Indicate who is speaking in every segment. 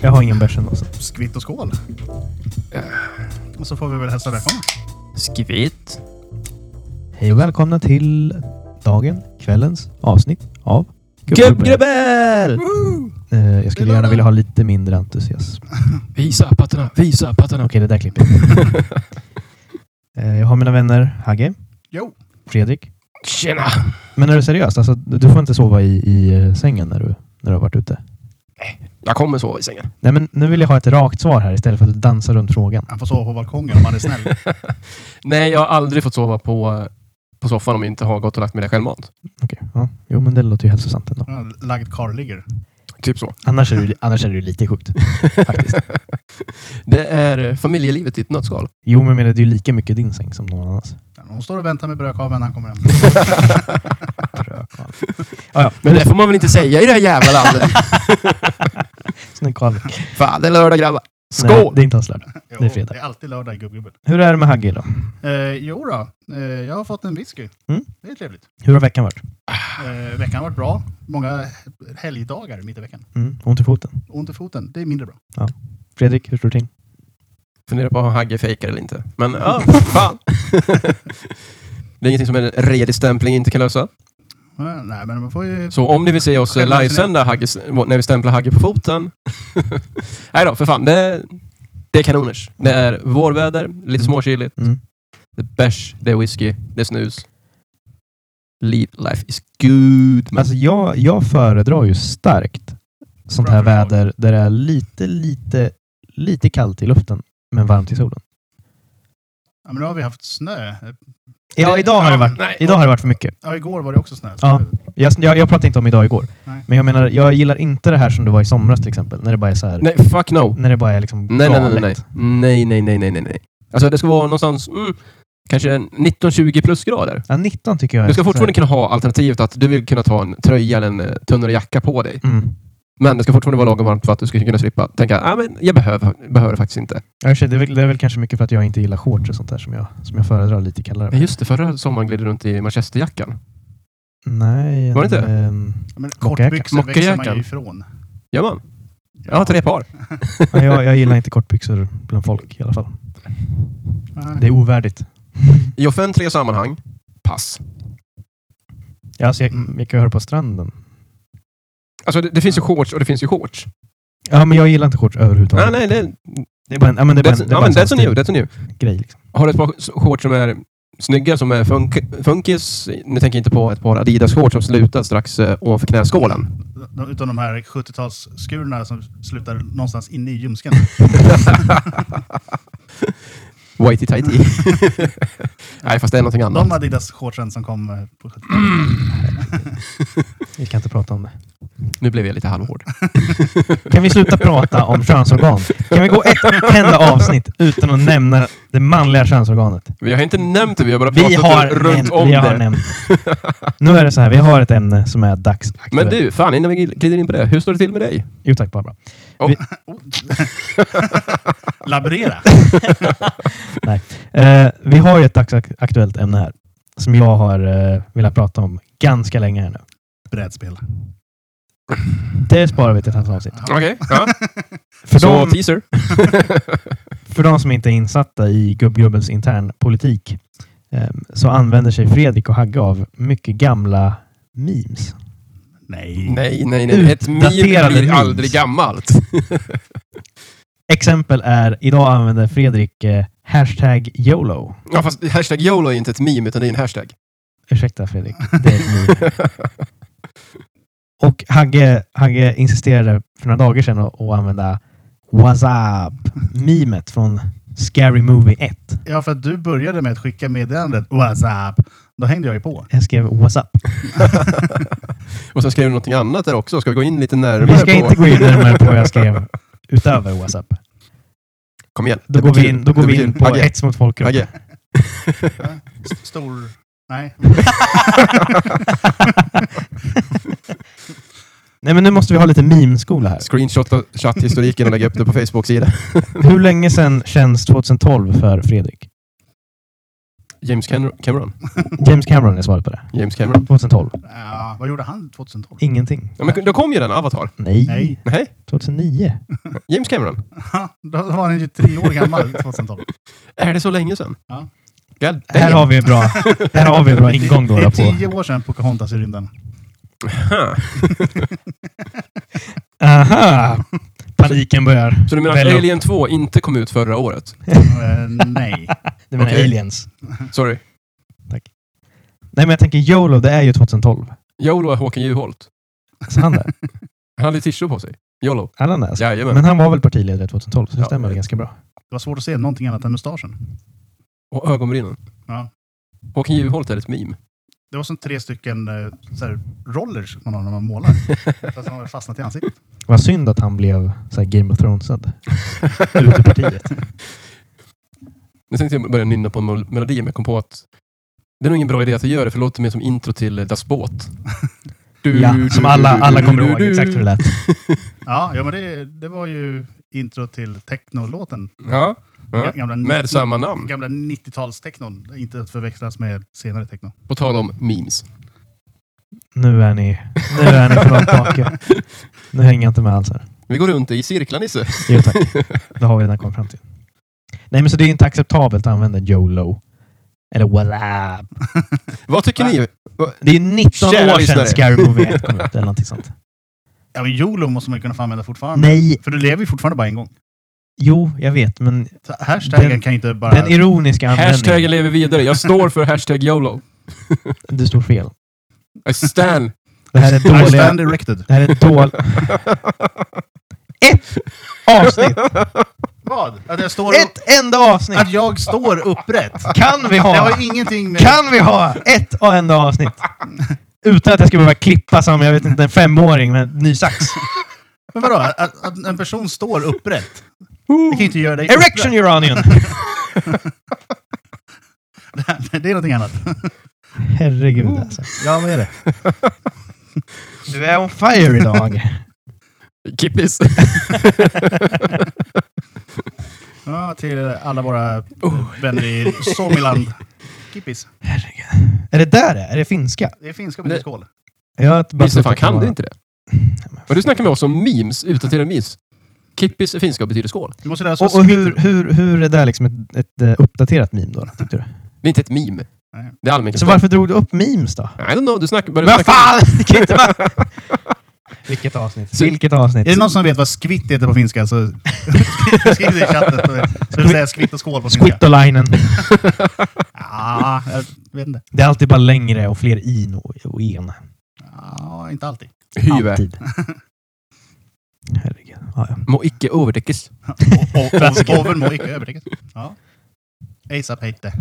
Speaker 1: Jag har ingen bärs ändå. så.
Speaker 2: Skvitt och skål. Och Eh, så får vi väl hälsa välkomna.
Speaker 3: Skvitt.
Speaker 1: Hej och välkomna till dagen, kvällens avsnitt av
Speaker 3: Gubbgrubbel!
Speaker 1: Eh, Jag skulle gärna vilja ha lite mindre entusiasm.
Speaker 3: Visa pattarna, visa pattarna.
Speaker 1: Okej, det där klipper Eh, jag. Jag har mina vänner Hagge,
Speaker 2: Jo.
Speaker 1: Fredrik.
Speaker 3: Tjena!
Speaker 1: Men är du seriös? Alltså, du får inte sova i, i eh, sängen när du, när du har varit ute.
Speaker 3: Jag kommer sova i sängen.
Speaker 1: Nej, men nu vill jag ha ett rakt svar här istället för att dansa runt frågan.
Speaker 2: Han får sova på balkongen om han är snäll.
Speaker 3: Nej, jag har aldrig fått sova på, på soffan om jag inte har gått och lagt mig där självmant.
Speaker 1: Okej, ja. Jo, men det låter ju hälsosamt ändå.
Speaker 2: Ja, Lagd karligger.
Speaker 3: Typ så.
Speaker 1: Annars är det, ju- annars är det ju lite sjukt. Faktiskt.
Speaker 3: Det är familjelivet i ett nötskal.
Speaker 1: Jo, men jag menar, det är ju lika mycket din säng som någon annans.
Speaker 2: Hon står och väntar med brödkaveln när han kommer hem.
Speaker 1: Brödkvarn. Ah, ja,
Speaker 3: Men det får man väl inte säga i det här jävla landet?
Speaker 1: Snygg kvarn.
Speaker 3: Fan, det är lördag grabbar.
Speaker 1: Nej,
Speaker 3: Skål!
Speaker 1: det är inte alls lördag.
Speaker 2: Jo,
Speaker 1: Det är fredag.
Speaker 2: Det är alltid lördag i gubbgubben.
Speaker 1: Hur är det med Hagge då?
Speaker 2: Eh, jo då, eh, jag har fått en whisky.
Speaker 1: Mm.
Speaker 2: Det är trevligt.
Speaker 1: Hur har veckan varit?
Speaker 2: Eh, veckan har varit bra. Många helgdagar mitt i veckan.
Speaker 1: Mm, ont i foten.
Speaker 2: Ont i foten, det är mindre bra.
Speaker 1: Fredrik, hur står det till?
Speaker 3: Funderar på om Hagge fejkar eller inte. Men ja, fan. Det är ingenting som en redig stämpling inte kan lösa.
Speaker 2: Eh, nej, men man får ju...
Speaker 3: Så om ni vill se oss eh, livesända Hagges- när vi stämplar Hagge på foten. Nej då, för fan. Det är, det är kanoners. Det är vårväder, lite småkyligt.
Speaker 1: Mm.
Speaker 3: Det är bärs, det är whisky, det är snus. Liv, life is good. Men
Speaker 1: Alltså, jag, jag föredrar ju starkt sånt här
Speaker 2: Bra förslag.
Speaker 1: väder där det är lite, lite, lite kallt i luften men varmt i solen.
Speaker 2: Ja, men nu har vi haft snö. Eh,
Speaker 1: Ja, idag har det varit,
Speaker 3: nej.
Speaker 1: idag har det varit för mycket.
Speaker 2: Ja, igår var det också snö.
Speaker 1: Ja. Jag, jag, jag pratade inte om idag igår.
Speaker 2: Nej.
Speaker 1: Men jag menar, jag gillar inte det här som det var i somras till exempel. När det bara är så här,
Speaker 3: Nej, fuck no.
Speaker 1: när det bara är liksom
Speaker 3: Nej, nej, nej,
Speaker 1: galet.
Speaker 3: nej. Nej, nej, nej, nej, nej, nej. Alltså det ska vara någonstans, mm, kanske 19-20 plus grader.
Speaker 1: Ja, 19 tycker jag är
Speaker 3: Du ska
Speaker 1: så här-
Speaker 3: fortfarande kunna ha alternativet att du vill kunna ta en tröja eller en eh, tunnare jacka på dig.
Speaker 1: Mm.
Speaker 3: Men det ska fortfarande vara lagom varmt för att du ska kunna slippa tänka, ah, men jag behöver, behöver det faktiskt inte.
Speaker 1: Ja, i och för sig, det, är väl, det är väl kanske mycket för att jag inte gillar shorts och sånt där som jag, som jag föredrar lite kallare.
Speaker 3: Ja, just det, förra sommaren gled du runt i manchesterjackan.
Speaker 1: Nej.
Speaker 3: Var det inte?
Speaker 1: ehm,
Speaker 2: Ja, men
Speaker 1: Mockajacka.
Speaker 2: kortbyxor växer man
Speaker 3: Mockajackan.
Speaker 2: ju ifrån.
Speaker 3: Gör man? Jag har tre par.
Speaker 1: eh, ja, jag, jag gillar inte kortbyxor bland folk i alla fall. Det är ovärdigt.
Speaker 3: I offentliga sammanhang, pass.
Speaker 1: Ja, alltså jag, jag kan ju höra på stranden.
Speaker 3: Alltså det, det finns ju shorts och det finns ju shorts.
Speaker 1: Ja, men jag gillar inte shorts överhuvudtaget.
Speaker 3: Nej, Ah, nej, det,
Speaker 1: Det är bara en, ja, men det är bara en,
Speaker 3: that's,
Speaker 1: det är bara
Speaker 3: ja, men
Speaker 1: en sån
Speaker 3: that's on you, that's on you.
Speaker 1: stilgrej. Liksom.
Speaker 3: Har du ett par s- shorts som är snygga, som är funk, funkis? Nu tänker jag inte på ett par Adidas-shorts som slutar strax eh, ovanför knäskålen.
Speaker 2: De- Utan de här 70-talsskurarna som slutar någonstans inne i ljumsken.
Speaker 3: Whitey tighty. nej, fast det är någonting annat.
Speaker 2: De
Speaker 1: alltså.
Speaker 2: Adidas-shortsen som kom eh, på 70
Speaker 1: Mm. Vi kan inte prata om det.
Speaker 3: Nu blev jag lite halvhård.
Speaker 1: Kan vi sluta prata om könsorgan? Kan vi gå ett enda avsnitt utan att nämna det manliga könsorganet?
Speaker 3: Vi har inte nämnt det, vi har bara pratat
Speaker 1: Vi har,
Speaker 3: runt
Speaker 1: nämnt,
Speaker 3: om
Speaker 1: vi
Speaker 3: det.
Speaker 1: har nämnt Nu är det så här, vi har ett ämne som är dagsaktuellt.
Speaker 3: Men du, fan innan vi glider in på det. Hur står det till med dig?
Speaker 1: Jo tack Barbara.
Speaker 2: Laborera!
Speaker 1: Eh, vi har ju ett dagsaktuellt ämne här som jag har eh, velat prata om ganska länge här nu.
Speaker 2: Brädspel.
Speaker 1: Det sparar vi till ett annat avsnitt.
Speaker 3: Okej, ja.
Speaker 1: För
Speaker 3: Så
Speaker 1: de,
Speaker 3: teaser.
Speaker 1: för de som inte är insatta i gubbgubbens intern politik eh, så använder sig Fredrik och Hagge av mycket gamla memes.
Speaker 2: Nej.
Speaker 3: Nej, nej, nej. Ett meme
Speaker 1: Utdaterade
Speaker 3: blir
Speaker 1: memes.
Speaker 3: aldrig gammalt.
Speaker 1: Exempel är, idag använder Fredrik eh, hashtag YOLO.
Speaker 3: Ja, fast hashtag YOLO är inte ett meme, utan det är en hashtag.
Speaker 1: Ursäkta Fredrik, det är ett meme. Och Hagge, Hagge insisterade för några dagar sedan att, att använda WhatsApp-memet från Scary Movie 1.
Speaker 2: Ja, för att du började med att skicka meddelandet WhatsApp. Då hängde jag ju på.
Speaker 1: Jag skrev WhatsApp.
Speaker 3: Och sen skrev du någonting annat där också. Ska vi gå in lite närmare
Speaker 1: Vi ska
Speaker 3: på...
Speaker 1: inte gå in närmare på vad jag skrev utöver WhatsApp.
Speaker 3: Kom igen.
Speaker 1: Då
Speaker 3: Det
Speaker 1: går
Speaker 3: blir
Speaker 1: vi in,
Speaker 3: kul.
Speaker 1: då går
Speaker 3: Det
Speaker 1: vi
Speaker 3: blir
Speaker 1: in
Speaker 3: kul.
Speaker 1: på
Speaker 3: Hagge.
Speaker 1: hets mot folkgrupp.
Speaker 3: Hagge.
Speaker 2: S- Stor... Nej.
Speaker 1: Nej, men nu måste vi ha lite meme-skola här.
Speaker 3: Screenshot-historiken och lägga upp det på Facebook-sidan.
Speaker 1: Hur länge sedan känns 2012 för Fredrik?
Speaker 3: James Can- Cameron.
Speaker 1: James Cameron är svaret på det.
Speaker 3: James Cameron.
Speaker 1: 2012.
Speaker 2: Ja, vad gjorde han 2012?
Speaker 1: Ingenting.
Speaker 3: Ja, men då kom ju den, Avatar.
Speaker 1: Nej.
Speaker 2: Nej.
Speaker 3: Nej,
Speaker 1: 2009.
Speaker 3: James Cameron.
Speaker 2: Då var han ju tre år gammal 2012.
Speaker 3: Är det så länge sedan?
Speaker 2: Ja.
Speaker 3: God
Speaker 1: Här har vi en bra, här har vi en bra ingång då,
Speaker 2: Det
Speaker 1: då
Speaker 2: är
Speaker 1: på.
Speaker 2: tio år sedan Pocahontas i rymden.
Speaker 3: Aha.
Speaker 1: Aha! Paniken börjar.
Speaker 3: Så du menar att
Speaker 1: välla upp.
Speaker 3: Alien 2 inte kom ut förra året?
Speaker 2: Eh, nej.
Speaker 1: Du menar
Speaker 3: Okej.
Speaker 1: aliens?
Speaker 3: Sorry.
Speaker 1: Nej, men jag tänker YOLO, det är ju 2012.
Speaker 3: Jolo är Håkan Juholt.
Speaker 1: Så han där.
Speaker 3: Han hade tissue på sig. Jolo.
Speaker 1: Hade han det? alltså?
Speaker 3: Jajamän.
Speaker 1: Men han var väl partiledare 2012, så det
Speaker 3: Ja.
Speaker 1: stämmer väl ganska bra.
Speaker 2: Det var svårt att se någonting annat än mustaschen.
Speaker 3: Och ögonbrynen.
Speaker 2: Ja.
Speaker 3: Håkan Juholt är ett meme.
Speaker 2: Det var som tre stycken eh, så här, rollers man har när man målar. Så att man har fastnat i ansiktet.
Speaker 1: Vad synd att han blev så här Game of Thronesad. Ut ur partiet.
Speaker 3: Nu tänkte jag börja nynna på en mel- melodi, men jag kom på att det är nog ingen bra idé att jag gör det, för det låter mer som intro till eh, Das Boot. Du,
Speaker 1: Ja,
Speaker 3: du,
Speaker 1: som
Speaker 3: du,
Speaker 1: alla,
Speaker 3: du,
Speaker 1: alla
Speaker 3: du,
Speaker 1: kommer
Speaker 3: du,
Speaker 1: ihåg
Speaker 3: du.
Speaker 1: exakt hur det lät.
Speaker 2: Ja, ja men det, det var ju intro till technolåten.
Speaker 3: Ja, ja.
Speaker 2: Gamla,
Speaker 3: Med samma namn.
Speaker 2: gamla 90-tals-technon. Inte att förväxlas med senare techno.
Speaker 3: På tal om memes.
Speaker 1: Nu är ni, nu är ni på långt bak. Nu hänger jag inte med alls här.
Speaker 3: Vi går runt i cirklar, Nisse.
Speaker 1: Jo tack. Det har vi redan kommit fram till. Nej, men så det är inte acceptabelt att använda YOLO. Eller walla.
Speaker 3: Vad tycker ni?
Speaker 1: Det är 19
Speaker 3: Kära
Speaker 1: år sedan
Speaker 3: lyssnare.
Speaker 1: Scary Movie 1 kom ut, eller någonting sånt.
Speaker 2: Ja, men YOLO måste man ju kunna få använda fortfarande.
Speaker 1: Nej,
Speaker 2: För du lever ju fortfarande bara en gång.
Speaker 1: jo, jag vet, men
Speaker 2: Så hashtaggen
Speaker 1: Den-
Speaker 2: kan ju inte bara...
Speaker 1: den ironiska användningen...
Speaker 3: Hashtaggen lever vidare. Jag står för hashtag YOLO.
Speaker 1: Du står fel.
Speaker 3: I stand.
Speaker 1: Det här är
Speaker 2: I
Speaker 1: dåliga...
Speaker 2: stand erected.
Speaker 1: Det här är dåliga... Ett avsnitt!
Speaker 2: Vad? Att jag står upp,
Speaker 1: Ett enda avsnitt!
Speaker 2: Att jag står upprätt?
Speaker 1: Kan vi
Speaker 2: Det
Speaker 1: ha?
Speaker 2: har ju ingenting med...
Speaker 1: Kan vi ha ett och enda avsnitt? Utan att jag ska behöva klippa som, jag vet inte, en femåring med en ny sax.
Speaker 2: Men vadå? Att, att en person står upprätt? Det kan ju inte göra dig
Speaker 1: Erection your onion!
Speaker 2: upprätt. Det är någonting annat.
Speaker 1: Herregud alltså.
Speaker 2: Ja, vad är det?
Speaker 1: Du är on fire idag.
Speaker 3: Kippis.
Speaker 2: Ja, till alla våra
Speaker 3: Oh.
Speaker 2: vänner i Somiland. Kippis.
Speaker 1: Herregud. Är det där det är? Är det finska?
Speaker 2: Det är finska på din
Speaker 3: Det-
Speaker 2: skål.
Speaker 1: Jag bara
Speaker 3: Nisse, fan
Speaker 1: trodde att
Speaker 3: kan
Speaker 1: var-
Speaker 3: du inte det? Men du snackar med oss om memes utan till en memes. Kippis är finska och betyder skål.
Speaker 2: Du måste lära oss
Speaker 1: Och, och hur, hur, hur är det liksom ett, ett eh, uppdaterat meme då? Tyckte du?
Speaker 3: Det är inte ett meme.
Speaker 2: Nej.
Speaker 3: Det är allmänt.
Speaker 1: Så varför drog du upp memes då?
Speaker 3: I don't know, du snackar... börjar
Speaker 1: Vad
Speaker 3: snacka-
Speaker 1: fan! Det kan inte vara... Vilket avsnitt.
Speaker 3: Så-
Speaker 1: Vilket avsnitt.
Speaker 2: Är det någon som vet vad skvitt heter på finska så skriv det i chatten. Så vi säger skvitt och skål på finska.
Speaker 1: Skittolinen.
Speaker 2: Ja, jag vet inte.
Speaker 1: Det är alltid bara längre och fler in och, och en.
Speaker 2: Ja, inte alltid.
Speaker 3: Hyve.
Speaker 1: Alltid. Herregud. Ja, ja.
Speaker 3: Må icke overdäckes.
Speaker 2: Och- och- Oven må icke övertäckas. Ja. ASAP heter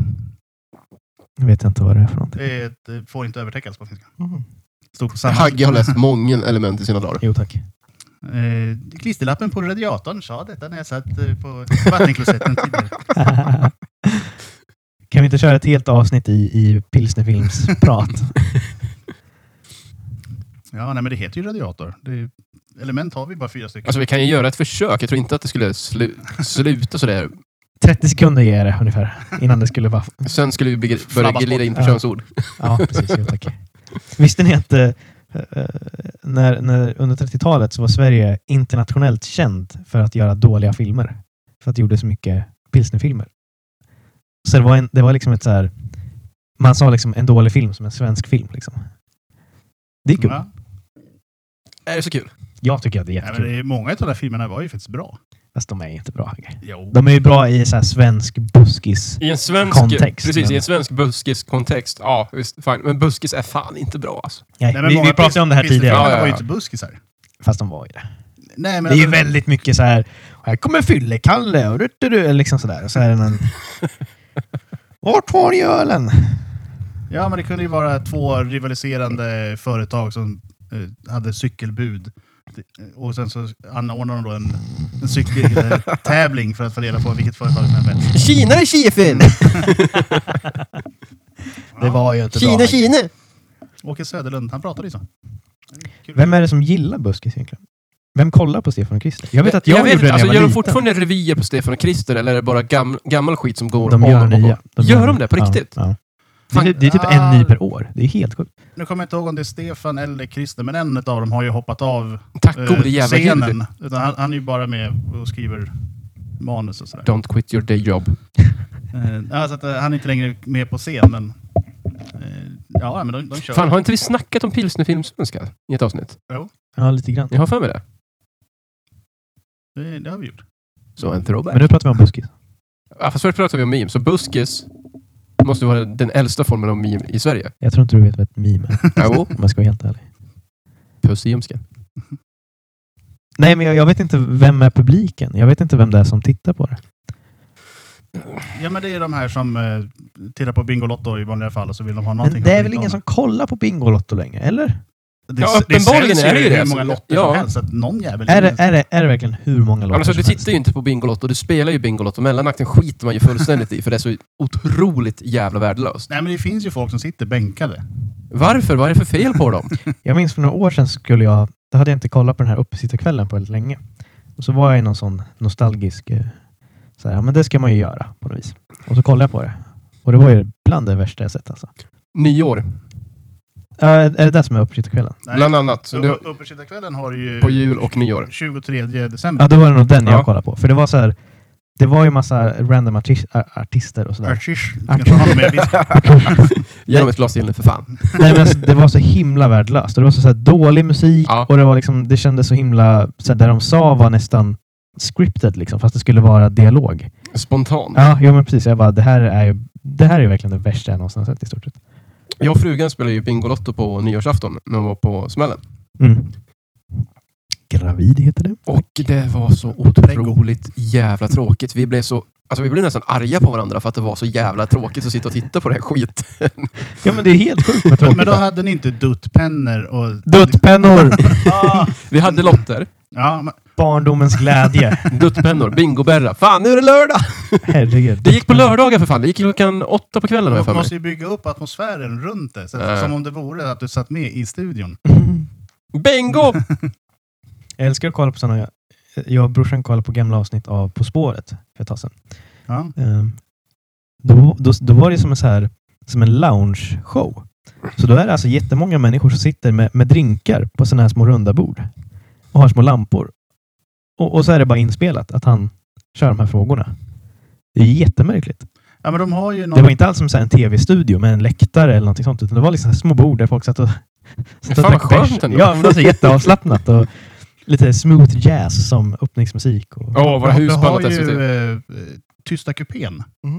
Speaker 1: Jag vet inte vad det är för någonting.
Speaker 2: det. är- Det får inte övertäckas på finska.
Speaker 1: Mm.
Speaker 2: Stod på samma...
Speaker 3: Hagge har läst många element i sina dagar.
Speaker 1: Jo tack.
Speaker 2: Eh, klisterlappen på radiatorn sa detta när jag satt eh, på vattenklosetten tidigare.
Speaker 1: kan vi inte köra ett helt avsnitt i, i pilsnerfilmsprat?
Speaker 2: Ja, nej, men det heter ju radiator. Det är, element har vi bara fyra stycken.
Speaker 3: Alltså vi kan ju göra ett försök. Jag tror inte att det skulle slu sluta sådär.
Speaker 1: 30 sekunder ger jag det ungefär, innan det skulle vara...
Speaker 3: Sen skulle vi begri- börja
Speaker 2: Flabbas
Speaker 3: glida
Speaker 2: bort.
Speaker 3: in på
Speaker 1: Ja.
Speaker 3: könsord.
Speaker 1: Ja, precis. Jo, tack. Visste ni att eh, eh, när, när, under 30-talet så var Sverige internationellt känd för att göra dåliga filmer? För att det gjorde så mycket pilsnerfilmer. Så det var, en, det var liksom ett så här... Man sa liksom en dålig film som en svensk film. Liksom. Det är kul.
Speaker 2: ja.
Speaker 3: Är det så kul?
Speaker 1: Jag tycker att det är
Speaker 2: nej, men
Speaker 1: jättekul.
Speaker 2: det är, många av de där filmerna var ju faktiskt bra.
Speaker 1: Fast de är jättebra.
Speaker 2: Jo.
Speaker 1: De är ju bra i så här svensk buskis.
Speaker 3: I en svensk...
Speaker 1: Typ. Kontext,
Speaker 3: Precis,
Speaker 1: men-
Speaker 3: i en svensk buskis-kontext. Ja, visst. Fine. Men buskis är fan inte bra alltså.
Speaker 1: Nej,
Speaker 2: Nej, men
Speaker 1: vi,
Speaker 2: många
Speaker 1: vi pratade om det här
Speaker 2: pis-
Speaker 1: tidigare.
Speaker 2: pisfilmer
Speaker 3: Ja, ja,
Speaker 2: var ju
Speaker 3: ja.
Speaker 2: inte buskisar.
Speaker 1: Fast de var ju det.
Speaker 2: Nej, men
Speaker 1: Det är ju
Speaker 2: alltså-
Speaker 1: väldigt mycket så här. Här kommer Fylle-Kalle och du, du, liksom sådär. Och så är det någon... Vart har ni ölen?
Speaker 2: Ja, men det kunde ju vara två rivaliserande företag som eh, hade cykelbud. Eh, Och sen så anordnade de då en, en cykeltävling för att få reda på vilket företag som är bäst.
Speaker 3: Kina är
Speaker 1: Mm,
Speaker 3: Kifin!
Speaker 1: Det var ju inte bra.
Speaker 3: Kina!
Speaker 2: Åke Söderlund, han pratade ju så.
Speaker 1: Vem är det som gillar buskis egentligen? Vem kollar på Stefan och Christer? Jag vet att jag, gjorde
Speaker 3: inte,
Speaker 1: det när
Speaker 3: alltså,
Speaker 1: jag
Speaker 3: Gör
Speaker 1: var
Speaker 3: de
Speaker 1: liten.
Speaker 3: fortfarande revyer på Stefan och Christer eller är det bara gam, gammal skit som går
Speaker 1: De
Speaker 3: om
Speaker 1: gör
Speaker 3: och om?
Speaker 1: nya.
Speaker 3: Gör de det på riktigt?
Speaker 1: Ja, ja.
Speaker 3: Fan.
Speaker 1: Det, är- det är typ
Speaker 2: Ah.
Speaker 1: en ny per år. Det är helt sjukt.
Speaker 2: Nu kommer jag inte ihåg om det är Stefan eller Christer, men en av dem har ju hoppat av
Speaker 3: Tack
Speaker 2: eh,
Speaker 3: gode jävla gud.
Speaker 2: scenen. Utan han, han är ju bara med och skriver manus och sådär.
Speaker 3: Don't quit your day job.
Speaker 2: Eh, ja, så att, eh, han är inte längre med på scen, men... Eh, ja, men de, de kör.
Speaker 3: Fan, har inte vi snackat om pilsnerfilmsvenska i ett avsnitt?
Speaker 1: Ja, lite grann.
Speaker 3: Jag har för mig det.
Speaker 2: Det, det har vi gjort.
Speaker 3: Så en throwback.
Speaker 1: Men nu pratar vi om buskis.
Speaker 3: Ja, fast först pratar vi om meme. Så buskis måste vara den äldsta formen av meme i Sverige.
Speaker 1: Jag tror inte du vet vad ett meme är,
Speaker 3: Jo,
Speaker 1: om jag ska vara helt ärlig.
Speaker 3: puss i ljumsken.
Speaker 1: Nej, men jag, jag vet inte vem är publiken. Jag vet inte vem det är som tittar på det.
Speaker 2: Ja, men det är de här som eh, tittar på Bingolotto i vanliga fall och så vill de ha någonting.
Speaker 1: Men det
Speaker 2: att
Speaker 1: är väl
Speaker 2: bryta
Speaker 1: ingen
Speaker 2: om.
Speaker 1: som kollar på Bingolotto längre, eller?
Speaker 2: Det,
Speaker 3: Ja,
Speaker 2: det
Speaker 3: uppenbarligen
Speaker 2: säljs
Speaker 3: är det ju
Speaker 2: ju
Speaker 3: det,
Speaker 2: hur
Speaker 3: alltså.
Speaker 2: många lotter
Speaker 3: Ja.
Speaker 2: som helst, så att någon jävel...
Speaker 1: Är det, är, det, är det verkligen hur många låtar
Speaker 3: Alltså, du
Speaker 1: som helst?
Speaker 3: tittar ju inte på Bingolotto, du spelar ju Bingolotto. Mellanakten skiter man ju fullständigt i, för det är så otroligt jävla värdelöst.
Speaker 2: Nej, men det finns ju folk som sitter bänkade.
Speaker 3: Varför? Vad är det för fel på dem?
Speaker 1: Jag minns för några år sedan skulle jag, då hade jag inte kollat på den här uppesittarkvällen på väldigt länge. Och så var jag i någon sån nostalgisk, eh, så här, ja, men det ska man ju göra på något vis. Och så kollade jag på det. Och det var ju bland det värsta jag sett alltså.
Speaker 3: Nyår,
Speaker 1: Ja, är är det det som är uppesittarkvällen?
Speaker 2: Nej.
Speaker 3: bland annat. Så
Speaker 2: Så
Speaker 3: du,
Speaker 2: upp- Uppesittarkvällen har ju
Speaker 3: på jul och nyår.
Speaker 2: 23 december.
Speaker 1: Ja, då var det nog den
Speaker 3: Ja.
Speaker 1: jag kollade på. För det var så här, det var ju massa random artis- ar- artister och sådär.
Speaker 2: Artish. Ska inte ha med visk-
Speaker 3: Ge dem ett glas till nu för fan.
Speaker 1: Nej, men alltså, det var så himla värdelöst. Och det var så, så här, dålig musik
Speaker 3: Ja.
Speaker 1: och det, var liksom, det kändes så himla... Så här, det de sa var nästan scripted, liksom, fast det skulle vara dialog.
Speaker 3: Spontant.
Speaker 1: Ja, jo, men precis. Jag bara, det här är ju det här är ju verkligen det värsta jag någonsin har sett i stort sett.
Speaker 3: Jag och frugan spelade ju Bingolotto på nyårsafton när hon var på smällen.
Speaker 1: Mm. Gravid heter det.
Speaker 3: Och det var så otroligt jävla tråkigt. Vi blev så Alltså vi blev nästan arga på varandra för att det var så jävla tråkigt att sitta och titta på den här skiten.
Speaker 1: Ja, men det är helt sjukt vad tråkigt.
Speaker 2: Men då hade ni inte duttpennor och...
Speaker 1: Duttpennor!
Speaker 2: Ah,
Speaker 3: Vi hade lotter,
Speaker 2: ja, men,
Speaker 1: Barndomens glädje.
Speaker 3: duttpennor, bingoberra. Fan, nu är det lördag!
Speaker 1: Herregud.
Speaker 3: Det gick på lördagar för fan. Det gick klockan åtta på kvällen har jag för
Speaker 2: man
Speaker 3: mig.
Speaker 2: måste ju bygga upp atmosfären runt det. Så att,
Speaker 3: Nej.
Speaker 2: Som om det vore att du satt med i studion.
Speaker 3: Bingo!
Speaker 1: Jag älskar att kolla på sådana... Jag och brorsan kollade på gamla avsnitt av På spåret för ett tag sedan.
Speaker 2: Ja.
Speaker 1: Ehm, då, då, då var det som en, så här, som en lounge-show. Så då är det alltså jättemånga människor som sitter med, med drinkar på sådana här små runda bord och har små lampor. Och, och så är det bara inspelat att han kör de här frågorna. Det är jättemärkligt.
Speaker 2: ja, men de har ju någon...
Speaker 1: Det var inte alls som så här en tv-studio med en läktare eller någonting sånt, utan det var liksom så här små bord där folk satt och... satt och
Speaker 3: fan vad
Speaker 1: drack bärs.
Speaker 3: skönt ändå.
Speaker 1: Ja, men det var så jätteavslappnat och lite smooth jazz som öppningsmusik. Och...
Speaker 3: Åh, våra
Speaker 2: Du har
Speaker 3: husbandet
Speaker 2: ju
Speaker 3: SVT.
Speaker 2: eh, tysta kupén.
Speaker 3: Mhm.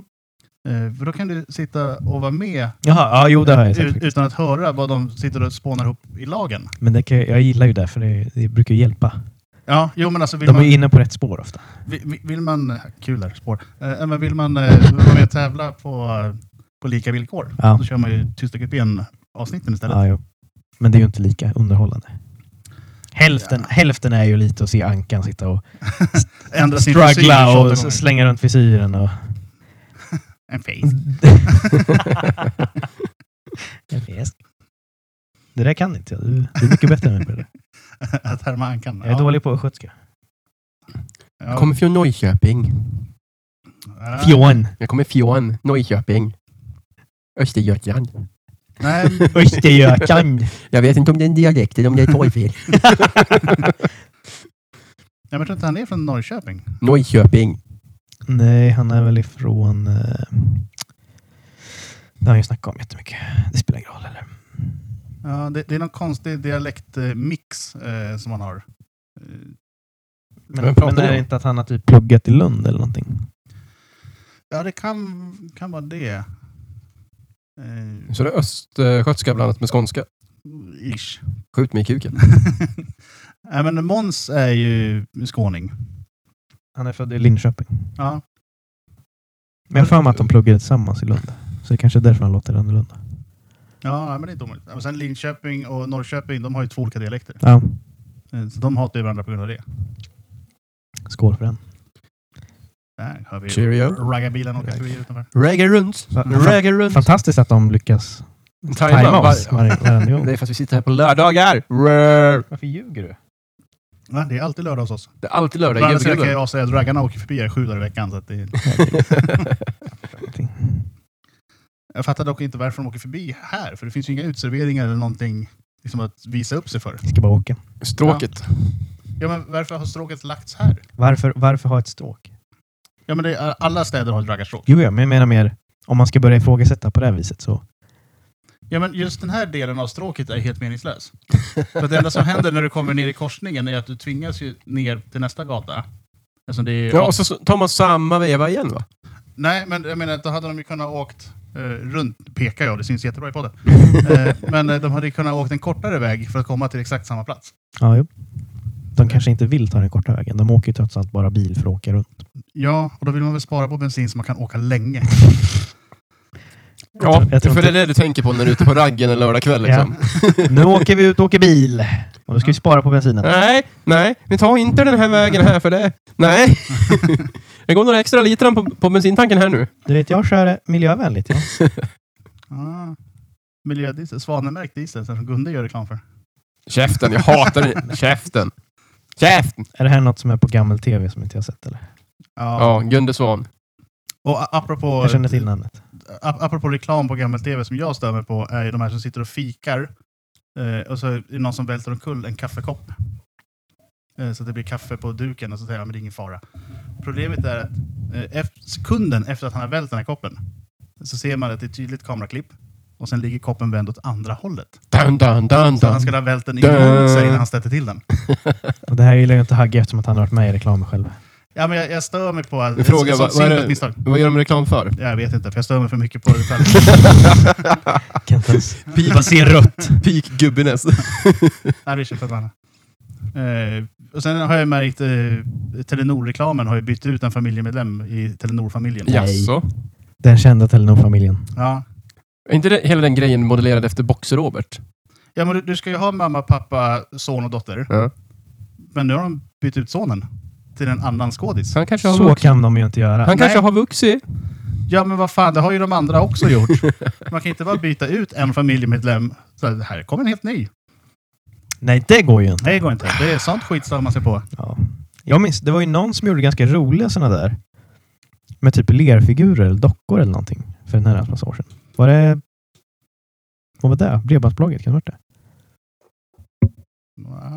Speaker 2: Eh, för då kan du sitta och vara med
Speaker 1: Jaha, ja, jo, det har jag sett.
Speaker 2: ut, utan att höra vad de sitter och spånar ihop i lagen.
Speaker 1: Men det kan, jag gillar ju det, för det, det brukar ju hjälpa.
Speaker 2: Ja, jo men alltså vill
Speaker 1: De är
Speaker 2: man...
Speaker 1: ju inne på rätt spår ofta.
Speaker 2: vi- vi- Vill man kul där, spår. Eh, men vill man eh, vara med och tävla på, eh, på lika villkor,
Speaker 1: Ja.
Speaker 2: då kör man ju Tysta kupén-avsnitten istället.
Speaker 1: Ja, jo. Men det är ju inte lika underhållande. Hälften, hälften är ju lite att se Ankan sitta och
Speaker 2: Ändra sin frisyr
Speaker 1: struggla
Speaker 2: 28
Speaker 1: och
Speaker 2: gånger.
Speaker 1: s- slänga runt visiren. Och...
Speaker 2: En face.
Speaker 1: En fisk. det där kan inte jag. Du du är mycket bättre än mig på det där.
Speaker 2: att härma ankan.
Speaker 1: Jag är dålig på östgötska.
Speaker 2: Ja.
Speaker 3: Jag kommer från Norrköping.
Speaker 2: Ja.
Speaker 1: Fjån.
Speaker 3: Jag kommer från Norrköping. Östergötland.
Speaker 2: Nej,
Speaker 1: Östergökan.
Speaker 3: Jag vet inte om det är en dialekt eller om det är torrfel.
Speaker 2: jag tror inte han är från Norrköping.
Speaker 3: Norrköping.
Speaker 1: Nej, han är väl ifrån... eh, Det har han ju snackat om jättemycket. Det spelar ingen roll eller?
Speaker 2: Ja, det, det är någon konstig dialektmix eh, som han har. Eh,
Speaker 1: Men,
Speaker 3: Vem pratar
Speaker 1: men är
Speaker 3: du
Speaker 1: det
Speaker 3: om?
Speaker 1: inte att han har typ pluggat i Lund eller någonting?
Speaker 2: Ja, det kan, kan vara det. Eh,
Speaker 3: Så det är östgötska blandat med skånska.
Speaker 2: ish.
Speaker 3: Skjut mig i kuken.
Speaker 2: Nej, men Måns är ju skåning.
Speaker 1: Han är född i Linköping.
Speaker 2: Ja.
Speaker 1: Men jag har för mig att de pluggade tillsammans i Lund. Så det kanske är därför han låter annorlunda.
Speaker 2: Ja, nej, men det är inte omöjligt. Ja, men Sen Linköping och Norrköping, de har ju två olika dialekter.
Speaker 1: Ja,
Speaker 2: Eh, Så de hatar ju varandra på grund av det.
Speaker 1: skål för den.
Speaker 2: Där hör vi
Speaker 3: Cheerio.
Speaker 2: raggarbilen åka förbi utanför.
Speaker 3: Reggae runt. Reggae runt.
Speaker 1: Fantastiskt att de lyckas tajma oss.
Speaker 3: Tajma.
Speaker 1: varje- varje gång.
Speaker 3: Det är för att vi sitter här på lördagar. Rör.
Speaker 1: Varför ljuger du?
Speaker 2: Ja, det är alltid lördag hos oss.
Speaker 3: Det är alltid
Speaker 2: Å
Speaker 3: lördag i
Speaker 2: andra sidan kan
Speaker 3: Gedgegruvan.
Speaker 2: jag avslöja att raggarna åker förbi här sju dagar i veckan. Så att det... Jag fattar dock inte varför de åker förbi här, för det finns ju inga utserveringar eller någonting liksom, att visa upp sig för.
Speaker 1: Jag ska bara åka.
Speaker 3: Stråket.
Speaker 2: Ja, men varför har stråket lagts här?
Speaker 1: Varför, varför ha ett stråk?
Speaker 2: Ja, men det är, alla städer har ett raggarstråk.
Speaker 1: Jo, ja, men jag menar mer om man ska börja ifrågasätta på det här viset så.
Speaker 2: Ja, men just den här delen av stråket är helt meningslös. För det enda som händer när du kommer ner i korsningen är att du tvingas ju ner till nästa gata. Alltså det är
Speaker 3: Ja, och så tar man samma veva igen va?
Speaker 2: Nej, men jag menar, då hade de ju kunnat åkt eh, runt, pekar jag, det syns jättebra i podden. eh, men eh, de hade ju kunnat åkt en kortare väg för att komma till exakt samma plats.
Speaker 1: Ja, jo. De kanske inte vill ta den korta vägen. De åker ju trots allt bara bil för att åka runt.
Speaker 2: Ja, och då vill man väl spara på bensin så man kan åka länge.
Speaker 3: Ja,
Speaker 1: Jag tror
Speaker 3: för
Speaker 1: inte-
Speaker 3: det är det du tänker på när du är ute på raggen en lördagkväll. Liksom.
Speaker 1: Nu åker vi ut och åker bil. Och då ska vi spara på bensinen.
Speaker 3: Nej, nej, vi tar inte den här vägen här för det. Nej. det går några extra litrar på, på bensintanken här nu.
Speaker 1: Du vet, jag kör miljövänligt. Ja.
Speaker 2: Ah. Miljödiesel, svanenmärkt diesel, som Gunde gör reklam för.
Speaker 3: Käften, jag hatar den. Käften. Käften!
Speaker 1: Är det här något som är på gammel tv som inte jag sett? Eller?
Speaker 2: Ja.
Speaker 3: Ja, Gunde Svan.
Speaker 2: Och a- apropå,
Speaker 1: Jag känner till namnet.
Speaker 2: ap- apropå reklam på gammal-tv som jag stämmer på är ju de här som sitter och fikar eh, och så är det någon som välter omkull en kaffekopp. Eh, så att det blir kaffe på duken och så säger han men det är ingen fara. Problemet är att eh, ef- sekunden efter att han har vält den här koppen så ser man att det är ett tydligt kameraklipp och sen ligger koppen vänd åt andra hållet.
Speaker 3: Dun, dun, dun,
Speaker 2: Så han
Speaker 3: dun.
Speaker 2: skulle ha vält den
Speaker 3: Dun.
Speaker 2: emot sig när han stötte till den.
Speaker 1: Och det här gillar ju inte Hagge eftersom att han har varit med i reklamen själv.
Speaker 2: Ja, men jag, jag stör mig på att...
Speaker 3: Du frågar,
Speaker 2: ett
Speaker 3: vad,
Speaker 2: sånt
Speaker 3: vad, är
Speaker 2: simpelt
Speaker 3: det,
Speaker 2: misstag.
Speaker 3: vad gör de reklam för?
Speaker 2: Jag vet inte, för jag stör mig för mycket på detaljer.
Speaker 1: Ah, Kan inte ens... Bara se rött.
Speaker 3: Peak gubbiness.
Speaker 2: Nej, det känns förbannat. Eh, och sen har jag märkt eh, Telenor-reklamen har ju bytt ut en familjemedlem i Telenor-familjen.
Speaker 1: Ja. Nej.
Speaker 3: Jaså?
Speaker 1: Den kända Telenor-familjen.
Speaker 2: Ja.
Speaker 3: Är inte det, hela den grejen modellerad efter Boxer-Robert?
Speaker 2: ja, men du, du ska ju ha mamma, pappa, son och dotter.
Speaker 3: Ja.
Speaker 2: Men nu har de bytt ut sonen till en annan skådis.
Speaker 3: Han kanske har,
Speaker 1: Så
Speaker 3: vux-
Speaker 1: kan de ju inte göra.
Speaker 3: han kanske
Speaker 2: Nej.
Speaker 3: har vuxit.
Speaker 2: Ja, men vad fan, det har ju de andra också gjort. Man kan inte bara byta ut en familjemedlem. Så här, här kommer en helt ny.
Speaker 1: Nej, det går ju inte.
Speaker 2: Nej, det går inte. Det är sånt skit som man ser på.
Speaker 1: Ja. Jag minns, det var ju någon som gjorde ganska roliga sådana där. Med typ lerfigurer eller dockor eller någonting. För den här massa år sedan. Var det... Vad var det? Bredbandsbolaget? Kan det ha varit det?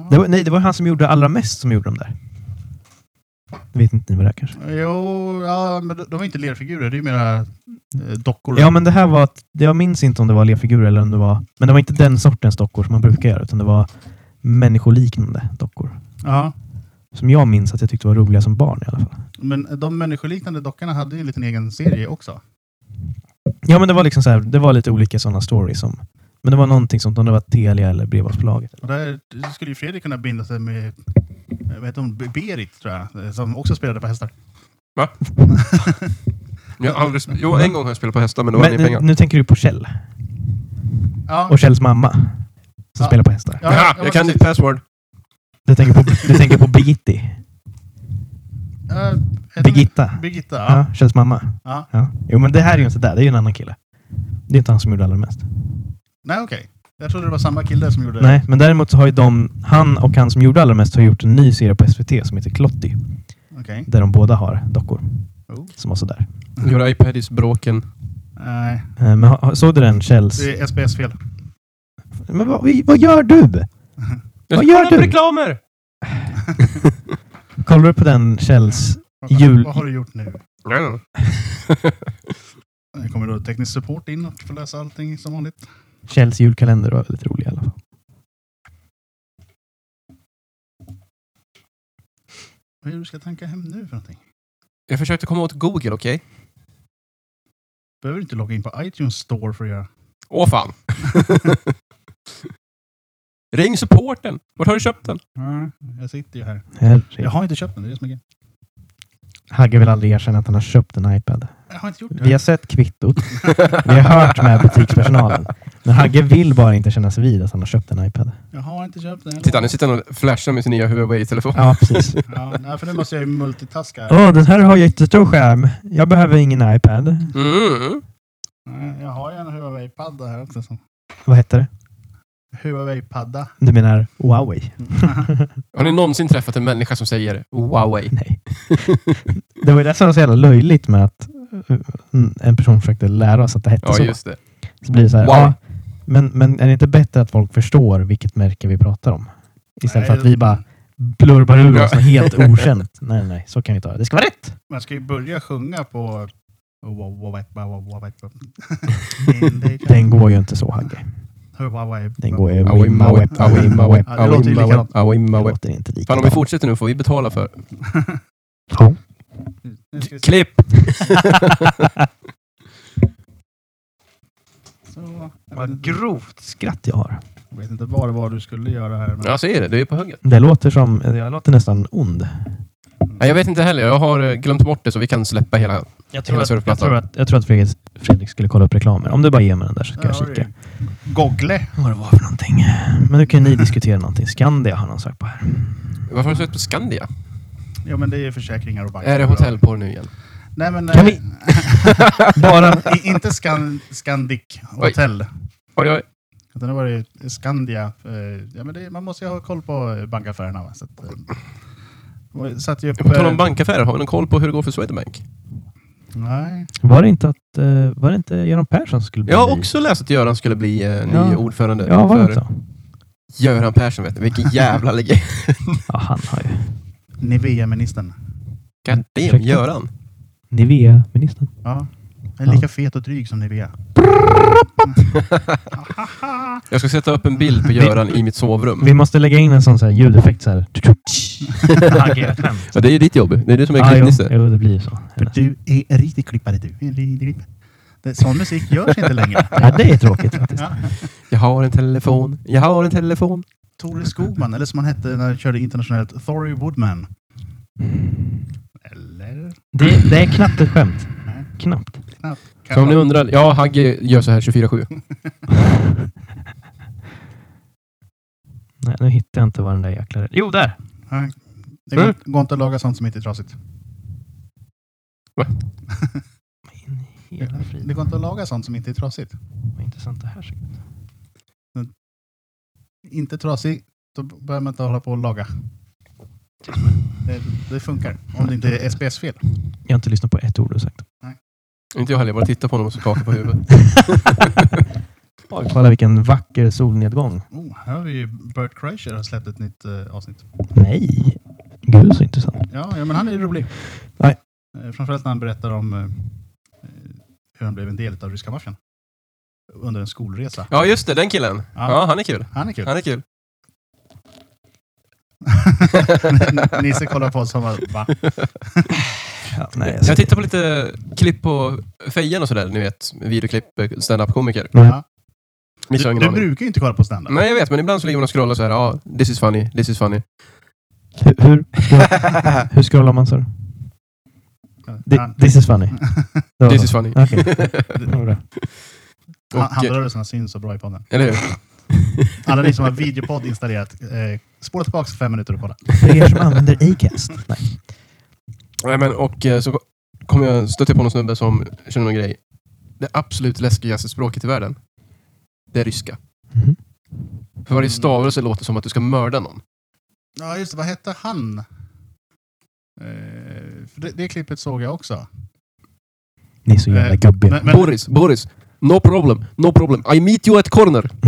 Speaker 1: det var, nej, det var han som gjorde allra mest som gjorde de där. Vet inte ni vad det är kanske?
Speaker 2: Jo, ja, men de de är inte lerfigurer. Det är ju mera eh, dockor.
Speaker 1: Ja, men det här var... att- Jag minns inte om det var lerfigurer eller om det var... Men det var inte den sortens dockor som man brukar göra. Utan det var människoliknande dockor.
Speaker 2: Ja.
Speaker 1: Som jag minns att jag tyckte var roliga som barn i alla fall.
Speaker 2: Men de människoliknande dockorna hade ju en liten egen serie också.
Speaker 1: Ja, men det var liksom så här, det var lite olika sådana stories. Som, men det var någonting som om det var Telia eller Bredbandsbolaget.
Speaker 2: Och där skulle ju Fredrik kunna binda sig med eh, vad heter hon? B- Berit, tror jag, eh, som också spelade på hästar.
Speaker 3: Jag har aldrig, sp- jo, en gång har jag spelat på hästar, men då var
Speaker 1: Men
Speaker 3: det
Speaker 1: nu,
Speaker 3: pengar.
Speaker 1: nu tänker du på Kjell
Speaker 2: Ja,
Speaker 1: och Kjells mamma som
Speaker 2: Ja.
Speaker 1: spelar på hästar.
Speaker 2: ja,
Speaker 3: Ja,
Speaker 2: ja,
Speaker 3: jag kan
Speaker 2: precis.
Speaker 3: ditt password.
Speaker 1: Du tänker på, du tänker på Birgitti.
Speaker 2: Ja, heter
Speaker 1: Birgitta.
Speaker 2: hon- Birgitta, ja.
Speaker 1: Ja, Kjells mamma.
Speaker 2: Ja.
Speaker 1: Jo, men det här är ju inte där. Det är ju en annan kille. Det är inte han som gjorde allra mest.
Speaker 2: Nej, okej. Jag trodde det var samma kille som gjorde
Speaker 1: Nej, men däremot så har ju de, han och han som gjorde allra mest har gjort en ny serie på SVT som heter Klotty.
Speaker 2: det. Okej.
Speaker 1: Där de båda har dockor
Speaker 2: Oh.
Speaker 1: som var sådär.
Speaker 3: Your iPad is broken.
Speaker 2: Nej,
Speaker 1: Eh, Men ha- såg du den Kjells?
Speaker 2: det är SBS-fel.
Speaker 1: Men vad, vad gör du? Vad gör
Speaker 3: Kolla på
Speaker 1: du?
Speaker 3: reklamer!
Speaker 1: Kollar du på den Kjells Jul-
Speaker 2: Vad har du gjort nu? Nu kommer då teknisk support in och får läsa allting som vanligt.
Speaker 1: Kjells julkalender var väldigt rolig i alla fall.
Speaker 2: Vad är det du ska tanka hem nu för någonting?
Speaker 3: jag försökte komma åt Google, okej?
Speaker 2: Behöver du inte logga in på iTunes Store för att göra?
Speaker 3: Åh fan. Ring supporten. Vart har du köpt den?
Speaker 2: Nej, jag sitter ju här. Jag
Speaker 1: Herregud.
Speaker 2: har inte köpt den, det är det som är grejen.
Speaker 1: Hagge vill aldrig erkänna att han har köpt en iPad.
Speaker 2: Jag har inte gjort det.
Speaker 1: Vi har sett kvittot. Vi har hört med butikspersonalen. Men Hagge vill bara inte kännas vid att han har köpt en iPad.
Speaker 2: Jag har inte köpt den.
Speaker 3: Titta, nu sitter han och flashar med sin nya Huawei-telefon.
Speaker 1: Ja, precis.
Speaker 2: Ja, nej, för nu måste jag ju multitaska. här.
Speaker 1: Åh, den här har jättestor skärm. Jag behöver ingen iPad.
Speaker 3: Mm.
Speaker 2: Nej, Jag har ju en Huawei-padda här också. Som
Speaker 1: Vad heter det?
Speaker 2: Huawei-padda.
Speaker 1: Du menar Huawei?
Speaker 3: Har ni någonsin träffat en människa som säger Huawei?
Speaker 1: Nej. det var ju det som var så jävla löjligt med att eh, en person försökte lära oss att det hette
Speaker 3: Ja,
Speaker 1: så.
Speaker 3: just det.
Speaker 1: Så blir det så här,
Speaker 3: Wow.
Speaker 1: ja, men, men är det inte bättre att folk förstår vilket märke vi pratar om? Istället för
Speaker 2: Nej,
Speaker 1: att vi bara blurbar ur
Speaker 3: Ja.
Speaker 1: oss något helt okänt. Nej, nej, så kan vi inte ha det. Det ska vara rätt!
Speaker 2: Man ska ju börja sjunga på...
Speaker 1: Den går ju inte så, Hagge.
Speaker 2: Huawei.
Speaker 1: Den går ju...
Speaker 3: Awim,
Speaker 1: Wimma
Speaker 3: awim,
Speaker 1: wep,
Speaker 3: awim,
Speaker 1: wimma wep.
Speaker 3: awim,
Speaker 2: Ja, det låter ju
Speaker 3: awim, awim,
Speaker 2: likadant.
Speaker 3: awim,
Speaker 1: Det
Speaker 3: awim.
Speaker 1: låter inte
Speaker 3: Fan, om vi
Speaker 1: likadant.
Speaker 3: fortsätter nu får vi betala för
Speaker 1: Ja.
Speaker 2: Nu ska vi se.
Speaker 3: Klipp!
Speaker 2: Så, jag vet
Speaker 1: Vad
Speaker 2: inte-
Speaker 1: grovt skratt jag har.
Speaker 2: jag vet inte vad det var du skulle göra här. Men...
Speaker 3: Jag ser det, du är på höger.
Speaker 1: Det låter som... Jag låter nästan ond.
Speaker 3: Nej, jag vet inte heller. Jag har eh, glömt bort det så vi kan släppa hela...
Speaker 1: Jag
Speaker 3: tror Hela att- surfplattan.
Speaker 1: jag tror att, jag tror att Fredrik, Fredrik skulle kolla upp reklamer. Om du bara ger mig den där så ska
Speaker 2: Där
Speaker 1: jag
Speaker 2: har
Speaker 1: kika.
Speaker 2: du. Goggle.
Speaker 1: Vad det var för någonting. Men nu kan ju ni diskutera någonting. Skandia har någon sagt på här.
Speaker 3: Varför har du sett på Skandia?
Speaker 2: Ja, men det är försäkringar och banker.
Speaker 3: Är det hotellporr nu igen?
Speaker 2: Nej, men...
Speaker 1: Kan
Speaker 2: eh,
Speaker 1: vi- Bara...
Speaker 2: i- inte Scan, Scandic Hotel.
Speaker 3: Oj, oj.
Speaker 2: Utan det var det Skandia. eh, Ja, men det, man måste ju ha koll på eh, bankaffärerna. Va? Så att, eh, och satte ju upp...
Speaker 3: På tal om
Speaker 2: eh,
Speaker 3: bankaffärer, har vi någon koll på hur det går för Swedbank?
Speaker 2: Nej.
Speaker 1: Var det inte, att, eh, var det inte Göran Persson som skulle bli
Speaker 3: Jag har
Speaker 1: ny?
Speaker 3: också läst att Göran skulle bli eh, ny
Speaker 1: Ja.
Speaker 3: ordförande
Speaker 1: Ja, var det
Speaker 3: för
Speaker 1: inte så?
Speaker 3: Göran Persson. Vet du. Vilken jävla legend.
Speaker 1: Ja, han har ju...
Speaker 2: Nivea-ministern.
Speaker 3: God damn,
Speaker 1: Ursäkta.
Speaker 3: Göran.
Speaker 1: Nivea-ministern.
Speaker 2: Ja. Den är
Speaker 1: Ja.
Speaker 2: lika fet och dryg som Nivea.
Speaker 3: Jag ska sätta upp en bild på Göran i mitt sovrum.
Speaker 1: Vi måste lägga in en sån så här ljudeffekt så här.
Speaker 3: Ja, det är ju ditt jobb. Det är du som är
Speaker 1: Ja, jo,
Speaker 3: klippnisse.
Speaker 1: jo, det blir ju så.
Speaker 2: För du är en riktig klippare du. En riktig klippare. Det, sån musik görs inte längre.
Speaker 1: Ja, det är tråkigt faktiskt.
Speaker 2: Ja.
Speaker 3: Jag har en telefon. Jag har en telefon.
Speaker 2: Tore Skogman, eller som han hette när han körde internationellt, Thory Woodman. Eller?
Speaker 1: Det, det är knappt ett skämt.
Speaker 2: Nej.
Speaker 1: Knappt.
Speaker 3: Så om ni undrar, ja Hagge gör så här 24-7.
Speaker 1: Nej, nu hittar jag inte vad den där jäkla... Jo, där!
Speaker 2: Nej. Det går,
Speaker 3: Mm.
Speaker 2: går inte att laga sånt som inte är trasigt.
Speaker 1: In i hela
Speaker 2: Det
Speaker 1: friden.
Speaker 2: går inte att laga sånt som inte är trasigt.
Speaker 1: Vad intressant det här ser ut.
Speaker 2: Inte trasigt, då behöver man inte hålla på och laga. Det, det funkar. Om det inte är SPS-fel.
Speaker 1: Jag har inte lyssnat på ett ord du har sagt.
Speaker 3: Inte jag heller, jag bara tittar på honom och så kakar på huvudet.
Speaker 1: Kolla vilken vacker solnedgång.
Speaker 2: Oh, här har vi ju Bert Kreischer har släppt ett nytt eh, avsnitt.
Speaker 1: Nej! Gud så intressant.
Speaker 2: Ja, ja, men han är ju rolig.
Speaker 1: Nej.
Speaker 2: Eh, Framförallt när han berättar om eh, eh, hur han blev en del av ryska maffian. Under en skolresa.
Speaker 3: Ja just det, den killen.
Speaker 2: Ja.
Speaker 3: Ja, han är kul.
Speaker 2: Han är kul.
Speaker 3: Han är kul.
Speaker 2: Nisse kollar på oss och bara, va?
Speaker 1: Ja, nej, alltså.
Speaker 3: Jag tittar på lite klipp på fejan och sådär, ni vet. Videoklipp, standup-komiker.
Speaker 1: Nej.
Speaker 2: Ja.
Speaker 3: Ni
Speaker 2: Du,
Speaker 3: har ingen
Speaker 2: du
Speaker 3: aning.
Speaker 2: brukar ju inte kolla på standup.
Speaker 3: Nej, jag vet, men ibland så ligger man och scrollar så här. Ja, this is funny, this is funny.
Speaker 1: Hur, hur, hur scrollar man så?
Speaker 2: Han,
Speaker 1: This is funny. Det var
Speaker 3: this
Speaker 1: så.
Speaker 3: is funny.
Speaker 1: Okej. Ja, bra.
Speaker 2: han,
Speaker 3: Och-
Speaker 2: handrörelserna syns så bra i podden.
Speaker 3: Eller hur?
Speaker 2: Alla ni som har videopodd installerat, eh, spola tillbaka fem minuter och kolla.
Speaker 1: För er som använder Acast. Nej.
Speaker 3: Nej, men och eh, så kommer jag stöta på någon snubbe som känner någon grej. Det absolut läskigaste språket i världen, det är ryska.
Speaker 1: Mhm.
Speaker 3: För varje
Speaker 2: Mm.
Speaker 3: stavelse låter som att du ska mörda någon.
Speaker 2: Ja, just det. Vad hette han? Eh, för det, det klippet såg jag också.
Speaker 1: Ni är så jävla
Speaker 2: Eh,
Speaker 1: gubbiga.
Speaker 2: men, men,
Speaker 3: Boris, Boris, no problem, no problem. I meet you at corner.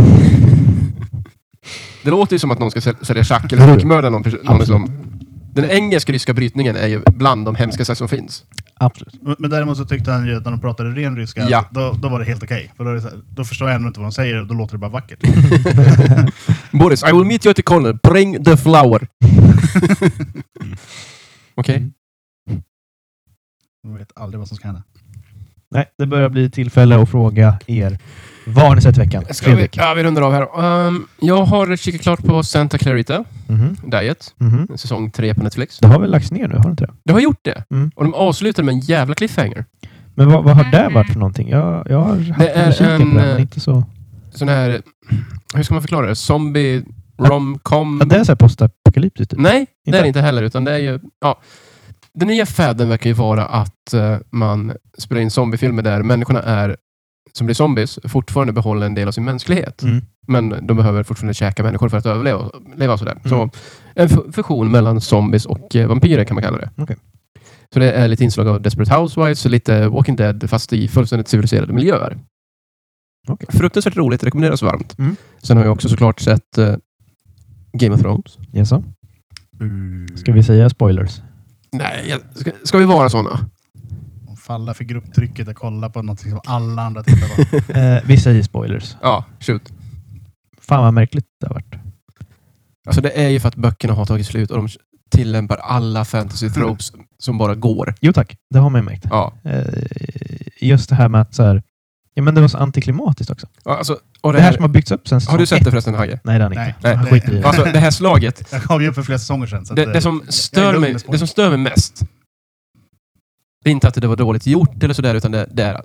Speaker 3: Det låter ju som att någon ska säl- sälja schack eller styckmörda någon person. Någon
Speaker 1: Absolut.
Speaker 3: som, den engelsk-ryska brytningen är ju bland de hemskaste som finns.
Speaker 1: Absolut.
Speaker 2: men däremot så tyckte han ju att när de pratade ren ryska,
Speaker 3: Ja.
Speaker 2: då, då var det helt okej. För då, är det så här, då förstår jag ändå inte vad de säger och då låter det bara vackert.
Speaker 3: Boris, I will meet you at the corner. Bring the flower. Okej?
Speaker 2: Man vet aldrig vad som ska hända.
Speaker 1: Nej, det börjar bli tillfälle att fråga er. Vad har ni sett i veckan?
Speaker 3: Ska vi,
Speaker 1: Fredrik?
Speaker 3: ja, vi rundar av här. Ehm, jag har kikat klart på Santa Clarita
Speaker 1: Mhm,
Speaker 3: Diet,
Speaker 1: mhm.
Speaker 3: säsong 3 på Netflix.
Speaker 1: Det har väl lagts ner nu, har det inte det?
Speaker 3: Det har gjort det.
Speaker 1: Mm.
Speaker 3: Och de avslutar med en jävla cliffhanger.
Speaker 1: Men vad, vad har det varit för någonting? Jag, jag har haft
Speaker 3: Det är
Speaker 1: en kikare på det,
Speaker 3: en,
Speaker 1: men
Speaker 3: eh,
Speaker 1: inte så...
Speaker 3: Sån här... Hur ska man förklara det? Zombie romcom...
Speaker 1: Ja, det är så här postapokalyptiskt typ.
Speaker 3: Nej, det
Speaker 1: Inte?
Speaker 3: är det inte heller. Utan det är ju, ja, den nya fäden verkar ju vara att eh, man spelar in zombiefilmer där människorna är, som blir zombies fortfarande behåller en del av sin mänsklighet.
Speaker 1: Mm.
Speaker 3: Men de behöver fortfarande käka människor för att överleva och leva och sådär.
Speaker 1: Mm.
Speaker 3: Så en fu- fusion mellan zombies och eh, vampyrer kan man kalla det.
Speaker 1: Okej.
Speaker 3: Så det är lite inslag av Desperate Housewives och lite Walking Dead fast i fullständigt civiliserade miljöer.
Speaker 1: Okej.
Speaker 3: Fruktansvärt roligt, rekommenderas varmt.
Speaker 1: Mm.
Speaker 3: Sen har jag också såklart sett eh, Game of Thrones.
Speaker 1: Jaså?
Speaker 2: Uh,
Speaker 1: Ska vi säga spoilers?
Speaker 3: Nej, jag- ska, ska vi vara sådana?
Speaker 2: Falla för grupptrycket och kolla på någonting som alla andra tittar på.
Speaker 1: Eh, vi säger spoilers.
Speaker 3: Ja, shoot.
Speaker 1: Fan vad märkligt det har varit.
Speaker 3: Alltså det är ju för att böckerna har tagit slut och de tillämpar alla fantasy tropes som bara går.
Speaker 1: Jo tack, det har man ju märkt.
Speaker 3: Mm. Ja.
Speaker 1: Eh, just det här med att så här, ja, men det var så antiklimatiskt också.
Speaker 3: Ja, Alltså, och
Speaker 1: Det här som har byggts upp sen
Speaker 3: har du
Speaker 1: säsong
Speaker 3: sett det förresten Hagge?
Speaker 1: ett. Nej det har ni
Speaker 2: Nej.
Speaker 1: inte.
Speaker 3: Nej.
Speaker 1: Han skiter i det.
Speaker 3: Alltså det här slaget.
Speaker 2: Jag gav ju upp för flera säsonger sedan. Så att,
Speaker 3: Det,
Speaker 2: eh,
Speaker 3: det, som
Speaker 2: jag
Speaker 3: stör
Speaker 2: är
Speaker 3: mig,
Speaker 2: lugn med
Speaker 3: det som stör mig mest. Det är inte att det var dåligt gjort eller sådär, utan det, det är att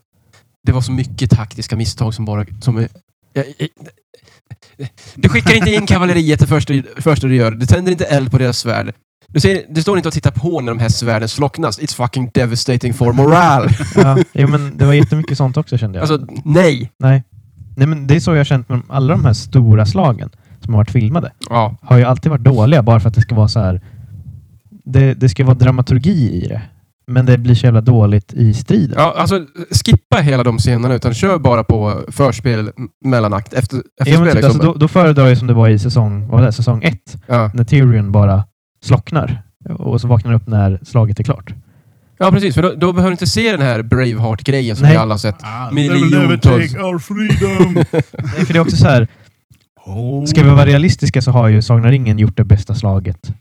Speaker 3: det var så mycket taktiska misstag som bara... Som, är- jag, jag, du skickar inte in kavalleriet det första, första du gör. Du tänder inte eld på deras svärd. Du, ser, du står inte och tittar på när de här svärden slocknas. It's fucking devastating for morale.
Speaker 1: ja, jo, men det var jättemycket sånt också kände jag.
Speaker 3: Alltså, nej.
Speaker 1: Nej. Nej, men det är så jag har känt med alla de här stora slagen som har varit filmade.
Speaker 3: Ja,
Speaker 1: Har ju alltid varit dåliga bara för att det ska vara så här. Det, det ska vara dramaturgi i det. Men det blir så jävla dåligt i striden.
Speaker 3: Ja, alltså skippa hela de scenerna utan kör bara på förspel, m- mellanakt, efter,
Speaker 1: Ja,
Speaker 3: efterspel.
Speaker 1: men, typ,
Speaker 3: liksom.
Speaker 1: alltså, då, då föredrar jag som det var i säsong, vad var det, säsong ett.
Speaker 3: ja.
Speaker 1: när Tyrion bara slocknar och så vaknar han upp när slaget är klart.
Speaker 3: ja, precis. För då, då behöver du inte se den här Braveheart-grejen som
Speaker 1: Nej.
Speaker 3: vi alla har sett.
Speaker 2: Ah,
Speaker 3: miljontals-
Speaker 2: they will never take our freedom.
Speaker 1: Nej, för det är också så här,
Speaker 2: oh.
Speaker 1: ska vi vara realistiska så har ju Sagan om ringen gjort det bästa slaget
Speaker 3: Ja,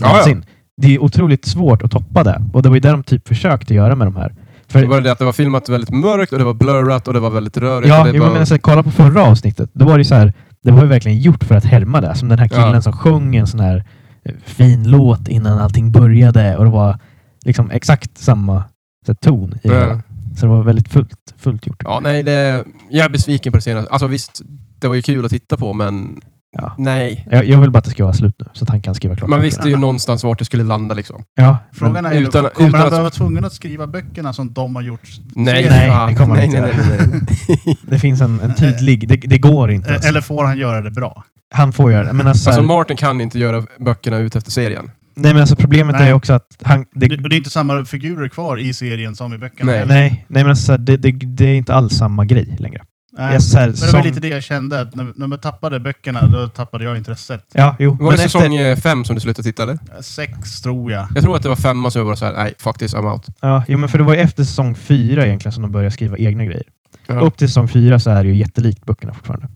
Speaker 3: ja.
Speaker 1: någonsin. Det är otroligt svårt att toppa det och det var ju det de typ försökte göra med de här.
Speaker 3: Det
Speaker 1: För,
Speaker 3: var det att det var filmat väldigt mörkt och det var blurrat och det var väldigt rörigt. och
Speaker 1: ja,
Speaker 3: det
Speaker 1: jo, men
Speaker 3: var...
Speaker 1: alltså, kolla på förra avsnittet. Då var det ju så här, det var ju verkligen gjort för att härma det. Som den här killen
Speaker 3: Ja.
Speaker 1: som sjöng en sån här eh, fin låt innan allting började och det var liksom exakt samma så här, ton i det.
Speaker 3: Ja.
Speaker 1: hela. Så det var väldigt fullt, fullt gjort.
Speaker 3: ja, nej, det... jag är besviken på det senaste. Alltså visst, det var ju kul att titta på, men
Speaker 1: Ja.
Speaker 3: nej.
Speaker 1: Jag, jag vill bara att det ska vara slut nu, så att han kan skriva klart.
Speaker 3: Man visste ju någonstans vart det skulle landa liksom.
Speaker 1: Ja,
Speaker 2: Frågan är ju,
Speaker 3: Utan-
Speaker 2: kommer han
Speaker 3: utan att-
Speaker 2: behöva vara tvungen att skriva böckerna som de har gjort?
Speaker 3: Nej,
Speaker 1: Nej,
Speaker 3: fan.
Speaker 1: det kommer
Speaker 3: nej,
Speaker 1: inte.
Speaker 3: nej, nej, nej, nej.
Speaker 1: det finns en, en tydlig... Det, det går inte.
Speaker 2: Eh,
Speaker 1: Alltså.
Speaker 2: Eller får han göra det bra?
Speaker 1: Han får göra det. Men alltså, så här-
Speaker 3: Alltså Martin kan inte göra böckerna ut efter serien.
Speaker 1: nej, men alltså problemet
Speaker 2: Nej.
Speaker 1: är också att han...
Speaker 2: Det,
Speaker 1: Det,
Speaker 2: och det är inte samma figurer kvar i serien som i böckerna.
Speaker 3: Nej.
Speaker 2: heller.
Speaker 1: nej, nej, men alltså, så här, det, det, det är inte alls samma grej längre.
Speaker 2: Nej.
Speaker 1: Jag, så här,
Speaker 2: Men det var
Speaker 1: som,
Speaker 2: lite det jag kände, att när, när man tappade böckerna, då tappade jag intresset.
Speaker 1: ja, jo,
Speaker 3: Var
Speaker 1: men
Speaker 3: det
Speaker 1: efter-
Speaker 3: säsong eh, fem som du slutade titta eller?
Speaker 2: Eh, Sex, tror jag.
Speaker 3: Jag tror att det var femman som jag bara såhär, nej, fuck this, I'm out.
Speaker 1: Ja, jo, men för det var ju efter säsong fyra egentligen som de började skriva egna grejer.
Speaker 3: Ja.
Speaker 1: Upp till säsong fyra så är det ju jättelikt böckerna fortfarande.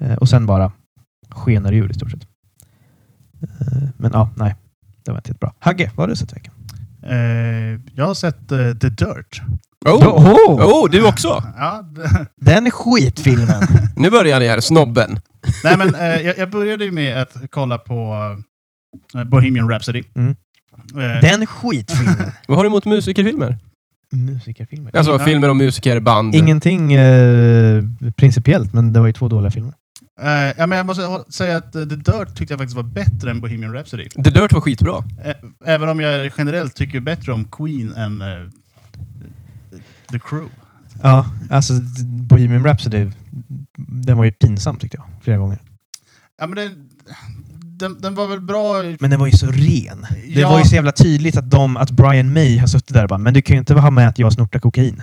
Speaker 1: Eh, och sen bara skenar det ur i stort sett. Eh, men ja, nej. Det var inte helt bra. Hagge, vad har du sett i veckan?
Speaker 2: Eh, jag har sett eh, The Dirt.
Speaker 3: Oh!
Speaker 1: Oho!
Speaker 3: Oh, du också!
Speaker 2: Ja, det-
Speaker 1: Den skitfilmen!
Speaker 3: Nu börjar ni här, snobben.
Speaker 2: Nej, men eh, jag, jag började ju med att kolla på eh, Bohemian Rhapsody.
Speaker 1: Mm.
Speaker 2: Eh,
Speaker 1: Den skitfilmen!
Speaker 3: Vad har du emot musikerfilmer?
Speaker 1: Musikerfilmer.
Speaker 3: Alltså
Speaker 2: Ja.
Speaker 3: filmer om musiker, band.
Speaker 1: Ingenting eh, principiellt, men det var ju två dåliga filmer.
Speaker 2: Eh, ja, men jag måste hå- säga att eh, The Dirt tyckte jag faktiskt var bättre än Bohemian Rhapsody.
Speaker 3: The Dirt var skitbra.
Speaker 2: Ä- även om jag generellt tycker bättre om Queen än eh, The Crew.
Speaker 1: Ja, alltså Bohemian Rhapsody, den var ju pinsam tyckte jag, flera gånger.
Speaker 2: Ja, men det, den, den var väl bra... i-
Speaker 1: Men den var ju så ren. Det
Speaker 2: Ja.
Speaker 1: var ju så jävla tydligt att, de, att Brian May har suttit där och bara ”men du kan ju inte ha med att jag snortar kokain”.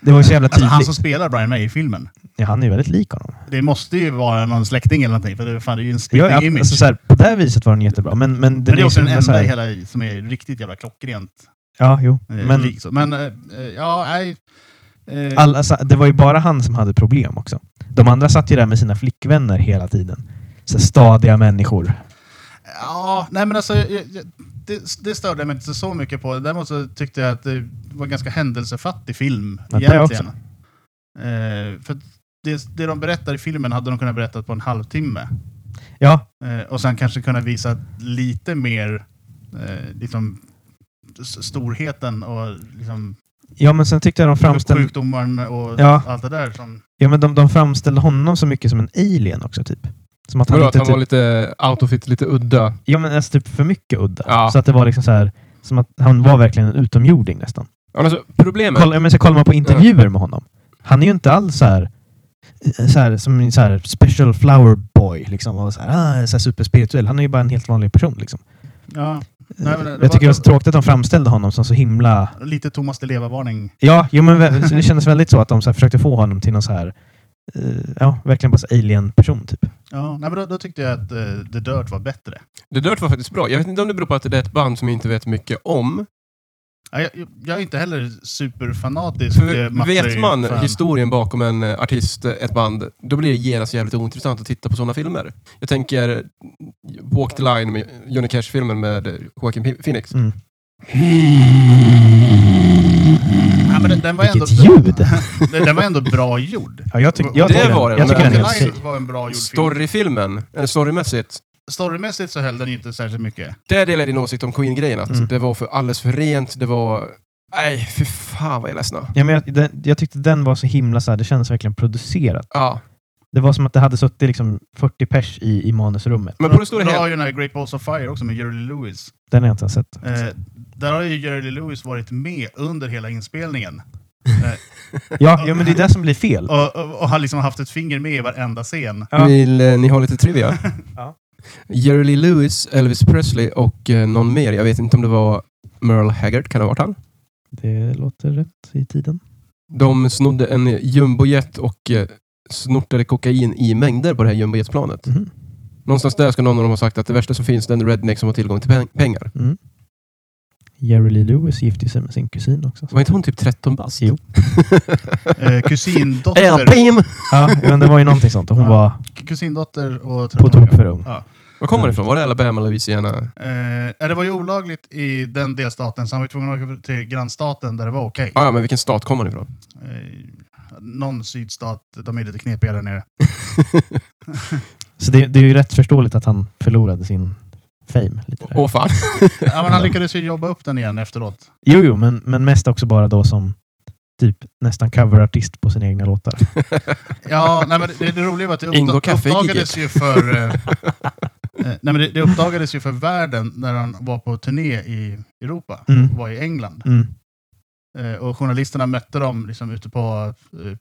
Speaker 1: det var ju så jävla
Speaker 2: Alltså,
Speaker 1: tydligt.
Speaker 2: han som spelar Brian May i filmen.
Speaker 1: ja, han är ju väldigt lik honom.
Speaker 2: Det måste ju vara någon släkting eller någonting, för det, fan, det är ju en
Speaker 1: Ja,
Speaker 2: splitting
Speaker 1: ja,
Speaker 2: image.
Speaker 1: alltså, så här, på det här viset var den jättebra, men, men, den
Speaker 2: men det är också
Speaker 1: ju
Speaker 2: den
Speaker 1: så
Speaker 2: enda
Speaker 1: här-
Speaker 2: i hela, som är riktigt jävla klockrent.
Speaker 1: Ja, jo.
Speaker 2: eh,
Speaker 1: Men Ah.
Speaker 2: lik så. men eh, eh, ja, nej. eh,
Speaker 1: Alla, sa- alltså, det var ju bara han som hade problem också. De andra satt ju där med sina flickvänner hela tiden. Så stadiga människor.
Speaker 2: Ja, nej men alltså, jag, jag, det, det störde jag mig inte så mycket på. Däremot så tyckte jag att det var en ganska händelsefattig film
Speaker 1: Ja, det är jag
Speaker 2: egentligen. Eh, för att det, det de berättar i filmen hade de kunnat berätta på en halvtimme.
Speaker 1: Ja,
Speaker 2: Eh, och sen kanske kunna visa lite mer eh, liksom, s- storheten och liksom,
Speaker 1: ja men sen tyckte jag de framställde,
Speaker 2: sjukdomaren och
Speaker 1: Ja.
Speaker 2: allt det där. Som,
Speaker 1: ja, men de, de framställde honom så mycket som en alien också typ. Som att han
Speaker 3: Vadå, att
Speaker 1: inte...
Speaker 3: han var
Speaker 1: typ,
Speaker 3: lite out of it, lite udda.
Speaker 1: ja men alltså, typ för mycket udda.
Speaker 3: Ja.
Speaker 1: Så att det var liksom så här, som att han var verkligen en utomjording nästan.
Speaker 3: Ja, men Alltså, problemet...
Speaker 1: Kolla, ja, men så kollar man på intervjuer med honom. Han är ju inte alls så här... eh, så här, som en så här special flower boy. Liksom, och så här, ah, så här superspirituell. Han är ju bara en helt vanlig person. Liksom.
Speaker 2: Ja, Nej, men det
Speaker 1: jag
Speaker 2: var-
Speaker 1: tycker det var så tråkigt att de framställde honom som så himla...
Speaker 2: lite Thomas Di Leva-varning.
Speaker 1: Ja, jo, men vä- det kändes väldigt så att de så här försökte få honom till någon så här... eh, ja, verkligen bara så här alien-person typ.
Speaker 2: Ja, nej, men då, då tyckte jag att eh, The Dirt var bättre.
Speaker 3: The Dirt var faktiskt bra. Jag vet inte om det beror på att det är ett band som jag inte vet mycket om.
Speaker 2: Ja, jag, jag är inte heller superfanatisk eh,
Speaker 3: För
Speaker 2: Mats
Speaker 3: vet man
Speaker 2: Berg-fan.
Speaker 3: historien bakom en eh, artist, eh, ett band, då blir det genast jävligt ointressant att titta på sådana filmer. Jag tänker eh, Walk the Line med Johnny Cash-filmen med eh, Joaquin P- Phoenix.
Speaker 1: Mm.
Speaker 2: Ja, men den, den, var ändå,
Speaker 1: Vilket ljud!
Speaker 2: den, den var ändå bra gjord.
Speaker 1: Ja, jag, tyck, jag,
Speaker 3: Det
Speaker 1: tycker den-
Speaker 3: var det,
Speaker 1: jag tycker
Speaker 3: men-
Speaker 1: den är
Speaker 2: Walk
Speaker 1: helt
Speaker 2: the Line
Speaker 1: okej.
Speaker 2: var en bra gjord film.
Speaker 3: Storyfilmen, eller storymässigt,
Speaker 2: Storymässigt så höll den ju inte särskilt mycket.
Speaker 3: där delar jag din åsikt om Queen-grejen. Att
Speaker 1: Mm.
Speaker 3: det var för alldeles för rent, det var... Nej, fy fan vad jag är ledsna.
Speaker 1: Ja, men jag, den, jag tyckte den var så himla så här, det kändes verkligen producerat.
Speaker 3: Ja.
Speaker 1: Det var som att det hade suttit liksom 40 pers i, i manusrummet.
Speaker 3: Men på det stora
Speaker 2: Du har
Speaker 3: hela...
Speaker 2: ju den här Great Balls of Fire också med Jerry Lee Lewis.
Speaker 1: Den har jag inte ens sett.
Speaker 2: Eh, där har ju Jerry Lee Lewis varit med under hela inspelningen.
Speaker 1: Ja, ja, men det är det som blir fel.
Speaker 2: Och, och, och har liksom haft ett finger med i varenda scen.
Speaker 1: Ja.
Speaker 3: Vill eh, ni ha lite trivia?
Speaker 1: Ja.
Speaker 3: Jerry Lee Lewis, Elvis Presley och eh, någon mer. Jag vet inte om det var Merle Haggard, kan det ha varit han?
Speaker 1: Det låter rätt i tiden.
Speaker 3: De snodde en jumbojet och eh, snortade kokain i mängder på det här jumbojetplanet.
Speaker 1: Mhm.
Speaker 3: Någonstans där ska någon av dem ha sagt att det värsta som finns det är en redneck som har tillgång till peng- pengar.
Speaker 1: Mm. Jerry Lee Lewis gifte sig med sin kusin också.
Speaker 3: Var inte hon typ 13 bast?
Speaker 1: Jo.
Speaker 2: Eh, kusindotter,
Speaker 3: Alpim!
Speaker 1: Ja, men det var ju någonting sånt. Hon
Speaker 2: Ja.
Speaker 1: var
Speaker 2: kusindotter och
Speaker 1: på tok för ung.
Speaker 3: Var kommer det ifrån? Var det Alabama, Louisiana?
Speaker 2: Eh, eh, det var ju olagligt i den delstaten, så han var ju tvungen att åka till grannstaten där det var okej.
Speaker 3: Ah, ja, men vilken stat kommer det ifrån?
Speaker 2: Eh, någon sydstat, de är lite knepiga där nere.
Speaker 1: Så det, det är ju rätt förståeligt att han förlorade sin fame. Lite där.
Speaker 3: Åh fan.
Speaker 2: Ja, men han lyckades ju jobba upp den igen efteråt.
Speaker 1: Jo, jo, men, men mest också bara då som typ nästan coverartist på sina egna låtar.
Speaker 2: Ja, nej, men det, det roliga var att det
Speaker 3: Ingo
Speaker 2: uppda-
Speaker 3: Kaffe i
Speaker 2: uppdagades ju för... Eh, eh, nej, men det, det uppdagades ju för världen när han var på turné i Europa,
Speaker 1: Mm.
Speaker 2: var i England.
Speaker 1: Mm.
Speaker 2: Eh, och journalisterna mötte dem liksom, ute på eh,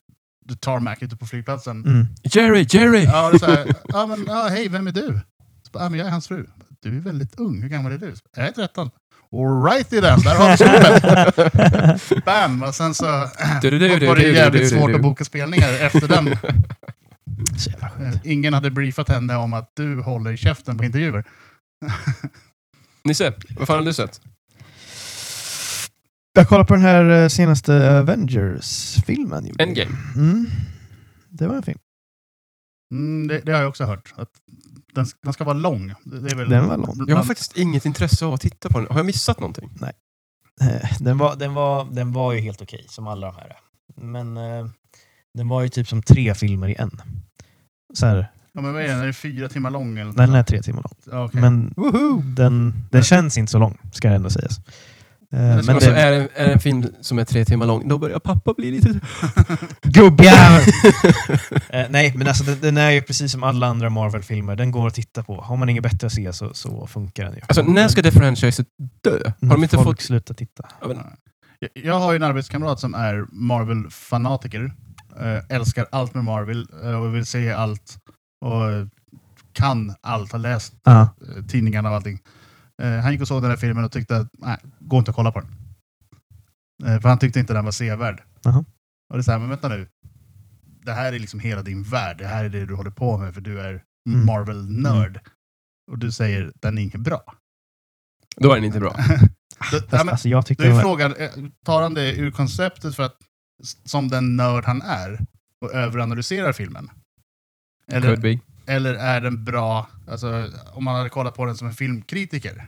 Speaker 2: the tarmac ute på flygplatsen.
Speaker 1: Mm.
Speaker 3: Jerry, Jerry!
Speaker 2: Ja, det är så här, ah, ja, men, ja, hej, vem är du? Så bara, ja, men jag är hans fru. Du är väldigt ung, hur gammal är du? Så bara, Jag är 13. Alrighty then, där har vi sopet! Bam! Och sen så
Speaker 3: Du, du, du, du,
Speaker 2: var det
Speaker 3: du, du,
Speaker 2: jävligt
Speaker 3: du, du,
Speaker 2: svårt
Speaker 3: du.
Speaker 2: att boka spelningar efter den.
Speaker 1: Så jävla skönt.
Speaker 2: Eh, Ingen hade briefat henne om att du håller i käften på intervjuer.
Speaker 3: Nisse, vad fan har du sett?
Speaker 1: Jag kollar på den här eh, senaste Avengers-filmen. gjorde jag.
Speaker 3: Endgame.
Speaker 1: Mm. Det var en film.
Speaker 2: Mm, det, det har jag också hört. Att den, den ska vara lång. Det, det är väl
Speaker 1: Den var lång.
Speaker 3: Jag har
Speaker 2: bland-
Speaker 3: faktiskt inget intresse av att titta på den. Har jag missat någonting?
Speaker 1: Eh, Den var, den var, den var ju helt okej, som alla de här. är. Men eh, den var ju typ som tre filmer i en. Så här,
Speaker 2: ja, men vad är den? Den är fyra timmar lång. Eller?
Speaker 1: den är tre timmar lång.
Speaker 2: Ja,
Speaker 3: Mm.
Speaker 2: okej.
Speaker 1: Men
Speaker 3: Woho!
Speaker 1: den, den känns inte så lång, ska det ändå sägas. Eh,
Speaker 2: den
Speaker 1: Men
Speaker 2: ska
Speaker 3: Men så
Speaker 1: det,
Speaker 3: Alltså, är, det, är det en film som är tre timmar lång, då börjar pappa bli lite...
Speaker 1: gubbjävel! Eh, Nej, men alltså den, den är ju precis som alla andra Marvel-filmer. Den går att titta på. Har man inget bättre att se så, så funkar den ju.
Speaker 3: Alltså, när ska det franchiset dö? Har de inte
Speaker 1: folk
Speaker 3: fått...
Speaker 1: sluta titta?
Speaker 3: Ja, men-
Speaker 2: Jag- Jag har ju en arbetskamrat som är Marvel-fanatiker. Eh, älskar allt med Marvel eh, och vill se allt. Och eh, kan allt, har läst
Speaker 1: Ja.
Speaker 2: eh, tidningarna och allting. Eh, han gick och såg den här filmen och tyckte att, nej, gå inte och kolla på den. Eh, för han tyckte inte den var sevärd.
Speaker 1: Jaha.
Speaker 2: Och det är så här, men vänta nu. Det här är liksom hela din värld. Det här är det du håller på med för du är
Speaker 1: Mm.
Speaker 2: Marvel-nörd. Och du säger, den är inte bra.
Speaker 3: Då är den inte bra.
Speaker 2: Då- ja,
Speaker 1: Fast,
Speaker 2: men-
Speaker 1: alltså, jag tyckte
Speaker 2: då är
Speaker 1: den
Speaker 2: ju
Speaker 1: var-
Speaker 2: frågan, eh, tar han det ur konceptet för att, s- som den nörd han är och överanalyserar filmen?
Speaker 3: Could
Speaker 2: Eller,
Speaker 3: be.
Speaker 2: eller är den bra, alltså, om man hade kollat på den som en filmkritiker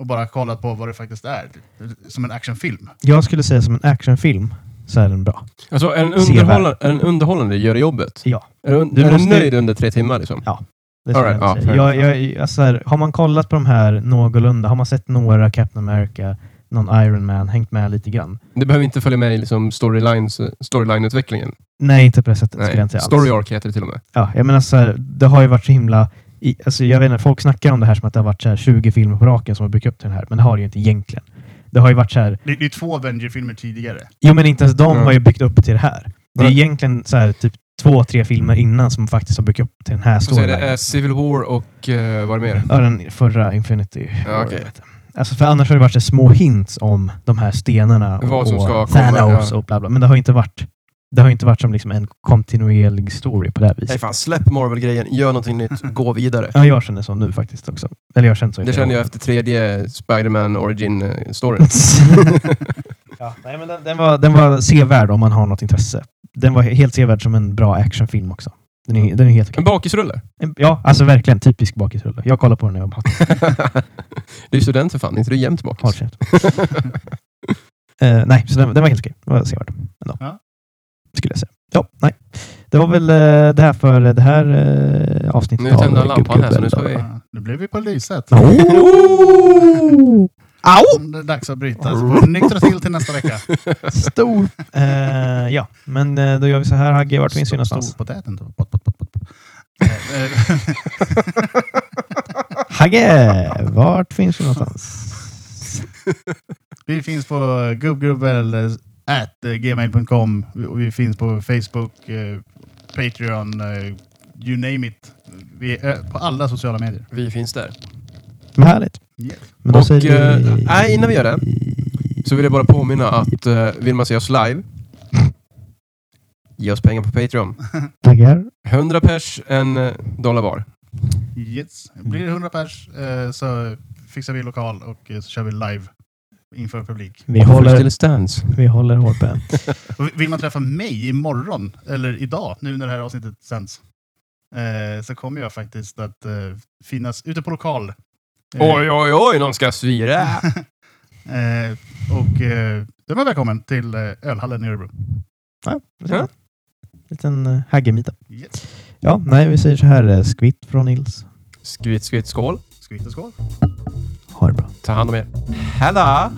Speaker 2: och bara kollat på vad det faktiskt är, typ, som en actionfilm?
Speaker 1: Jag skulle säga som en actionfilm så är den bra.
Speaker 3: Alltså, är den,
Speaker 1: Sevärd.
Speaker 3: underhållande, är den underhållande gör det jobbet?
Speaker 1: Ja.
Speaker 3: Är du,
Speaker 1: Du
Speaker 3: är du
Speaker 1: måste-
Speaker 3: nöjd under tre timmar liksom?
Speaker 1: Det skulle
Speaker 3: All right,
Speaker 1: jag inte
Speaker 3: ja,
Speaker 1: säga. jag, jag, alltså så här, har man kollat på de här någorlunda, har man sett några Captain America, någon Iron Man, hängt med lite grann?
Speaker 3: Det behöver inte följa med i liksom storylines, storyline-utvecklingen.
Speaker 1: Nej, inte på det sättet skulle jag
Speaker 3: Nej.
Speaker 1: inte säga
Speaker 3: Story
Speaker 1: alls.
Speaker 3: arc heter det till och med.
Speaker 1: Ja, jag menar så här, det har ju varit så himla... I, alltså jag vet inte, folk snackar om det här som att det har varit så här 20 filmer på raken som har byggt upp till den här, men det har det ju inte egentligen. Det har ju varit så här,
Speaker 2: Det, det är två Avenger-filmer tidigare.
Speaker 1: jo men inte ens de
Speaker 3: Ja.
Speaker 1: har ju byggt upp till det här. Det är
Speaker 3: Ja.
Speaker 1: egentligen så här, typ två, tre filmer innan som faktiskt har byggt upp till den här
Speaker 3: Så är det
Speaker 1: storyn.
Speaker 3: eh, Civil War och eh, vad är det mer?
Speaker 1: Ja, den förra Infinity.
Speaker 3: Ja,
Speaker 1: War, jag
Speaker 3: okej.
Speaker 1: vet inte. Alltså för annars har det varit så små hints om de här stenarna och,
Speaker 3: Vad som
Speaker 1: och
Speaker 3: ska komma,
Speaker 1: Thanos
Speaker 3: ja.
Speaker 1: och bla bla. Men det har inte varit, det har inte varit som liksom en kontinuerlig story på det här
Speaker 3: Nej
Speaker 1: viset.
Speaker 3: fan, släpp Marvel-grejen, gör någonting nytt, gå vidare.
Speaker 1: Ja, jag känner så nu faktiskt också. Eller jag känner så i
Speaker 3: Det
Speaker 1: flera
Speaker 3: känner
Speaker 1: år.
Speaker 3: jag efter tredje Spider-Man eh, Origin-storyn.
Speaker 1: ja, nej, men den, den, var, den var sevärd om man har något intresse. Den var he- helt sevärd som en bra actionfilm också. Den är, den är helt okej.
Speaker 3: En bakisrulle.
Speaker 1: Ja, alltså verkligen typisk bakisrulle. Jag kollar på den när jag har
Speaker 3: du är student för fan, inte du jämt bakis?
Speaker 1: Håll käft. Eh, nej, så den, den var helt okej. Den var sevärd. Ändå.
Speaker 2: Ja.
Speaker 1: Skulle jag säga. Ja, nej. Det var väl eh, det här för det här eh, avsnittet.
Speaker 3: Nu tänder
Speaker 1: av
Speaker 3: lampan här, så nu
Speaker 1: Gubbgubben.
Speaker 3: ska vi-
Speaker 2: Ja, nu blev vi poliset.
Speaker 1: Oh! Au!
Speaker 2: Det är dags att bryta. Så får vi nyktra till till nästa vecka.
Speaker 1: Stor. Eh, ja, men eh, då gör vi så här Hagge. Vart finns vi någonstans?
Speaker 2: Storpotäten. då. Pot, pot, pot, pot, pot. Eh, eh,
Speaker 1: Hagge! Vart finns vi någonstans?
Speaker 2: Vi finns på gubbgrubbel at eh, gmail.com. Vi- och Vi finns på Facebook, eh, Patreon, eh, you name it. Vi är eh, på alla sociala medier.
Speaker 3: Vi finns där.
Speaker 1: Vad härligt.
Speaker 2: Yeah.
Speaker 1: Men då
Speaker 3: Och,
Speaker 1: säger vi...
Speaker 3: eh, nej, innan vi gör det. Så vill jag bara påminna att eh, vill man se oss live, ge oss pengar på Patreon.
Speaker 1: Taggar.
Speaker 3: 100 pers, en eh, dollar var.
Speaker 2: Yes. Blir det 100 pers eh, så fixar vi lokal och eh, så kör vi live inför publik.
Speaker 1: Vi håller,
Speaker 3: Still stands.
Speaker 1: vi håller hårt på den.
Speaker 2: Och vill man träffa mig imorgon, eller idag, nu när det här avsnittet sänds, eh, så kommer jag faktiskt att eh, finnas ute på lokal. Eh,
Speaker 3: Oj, oj, oj, någon ska svira.
Speaker 2: eh, och eh, du är välkommen till eh, ölhallen i Örebro.
Speaker 3: Ja.
Speaker 1: Liten eh, haggemita.
Speaker 2: Yes.
Speaker 1: Ja, nej, vi säger så här. eh, Skvitt från Nils.
Speaker 3: Skvitt, skvitt, skål.
Speaker 2: Skvitt och skål.
Speaker 1: Ha det bra.
Speaker 3: Ta hand om er. Hej då!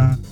Speaker 2: Hej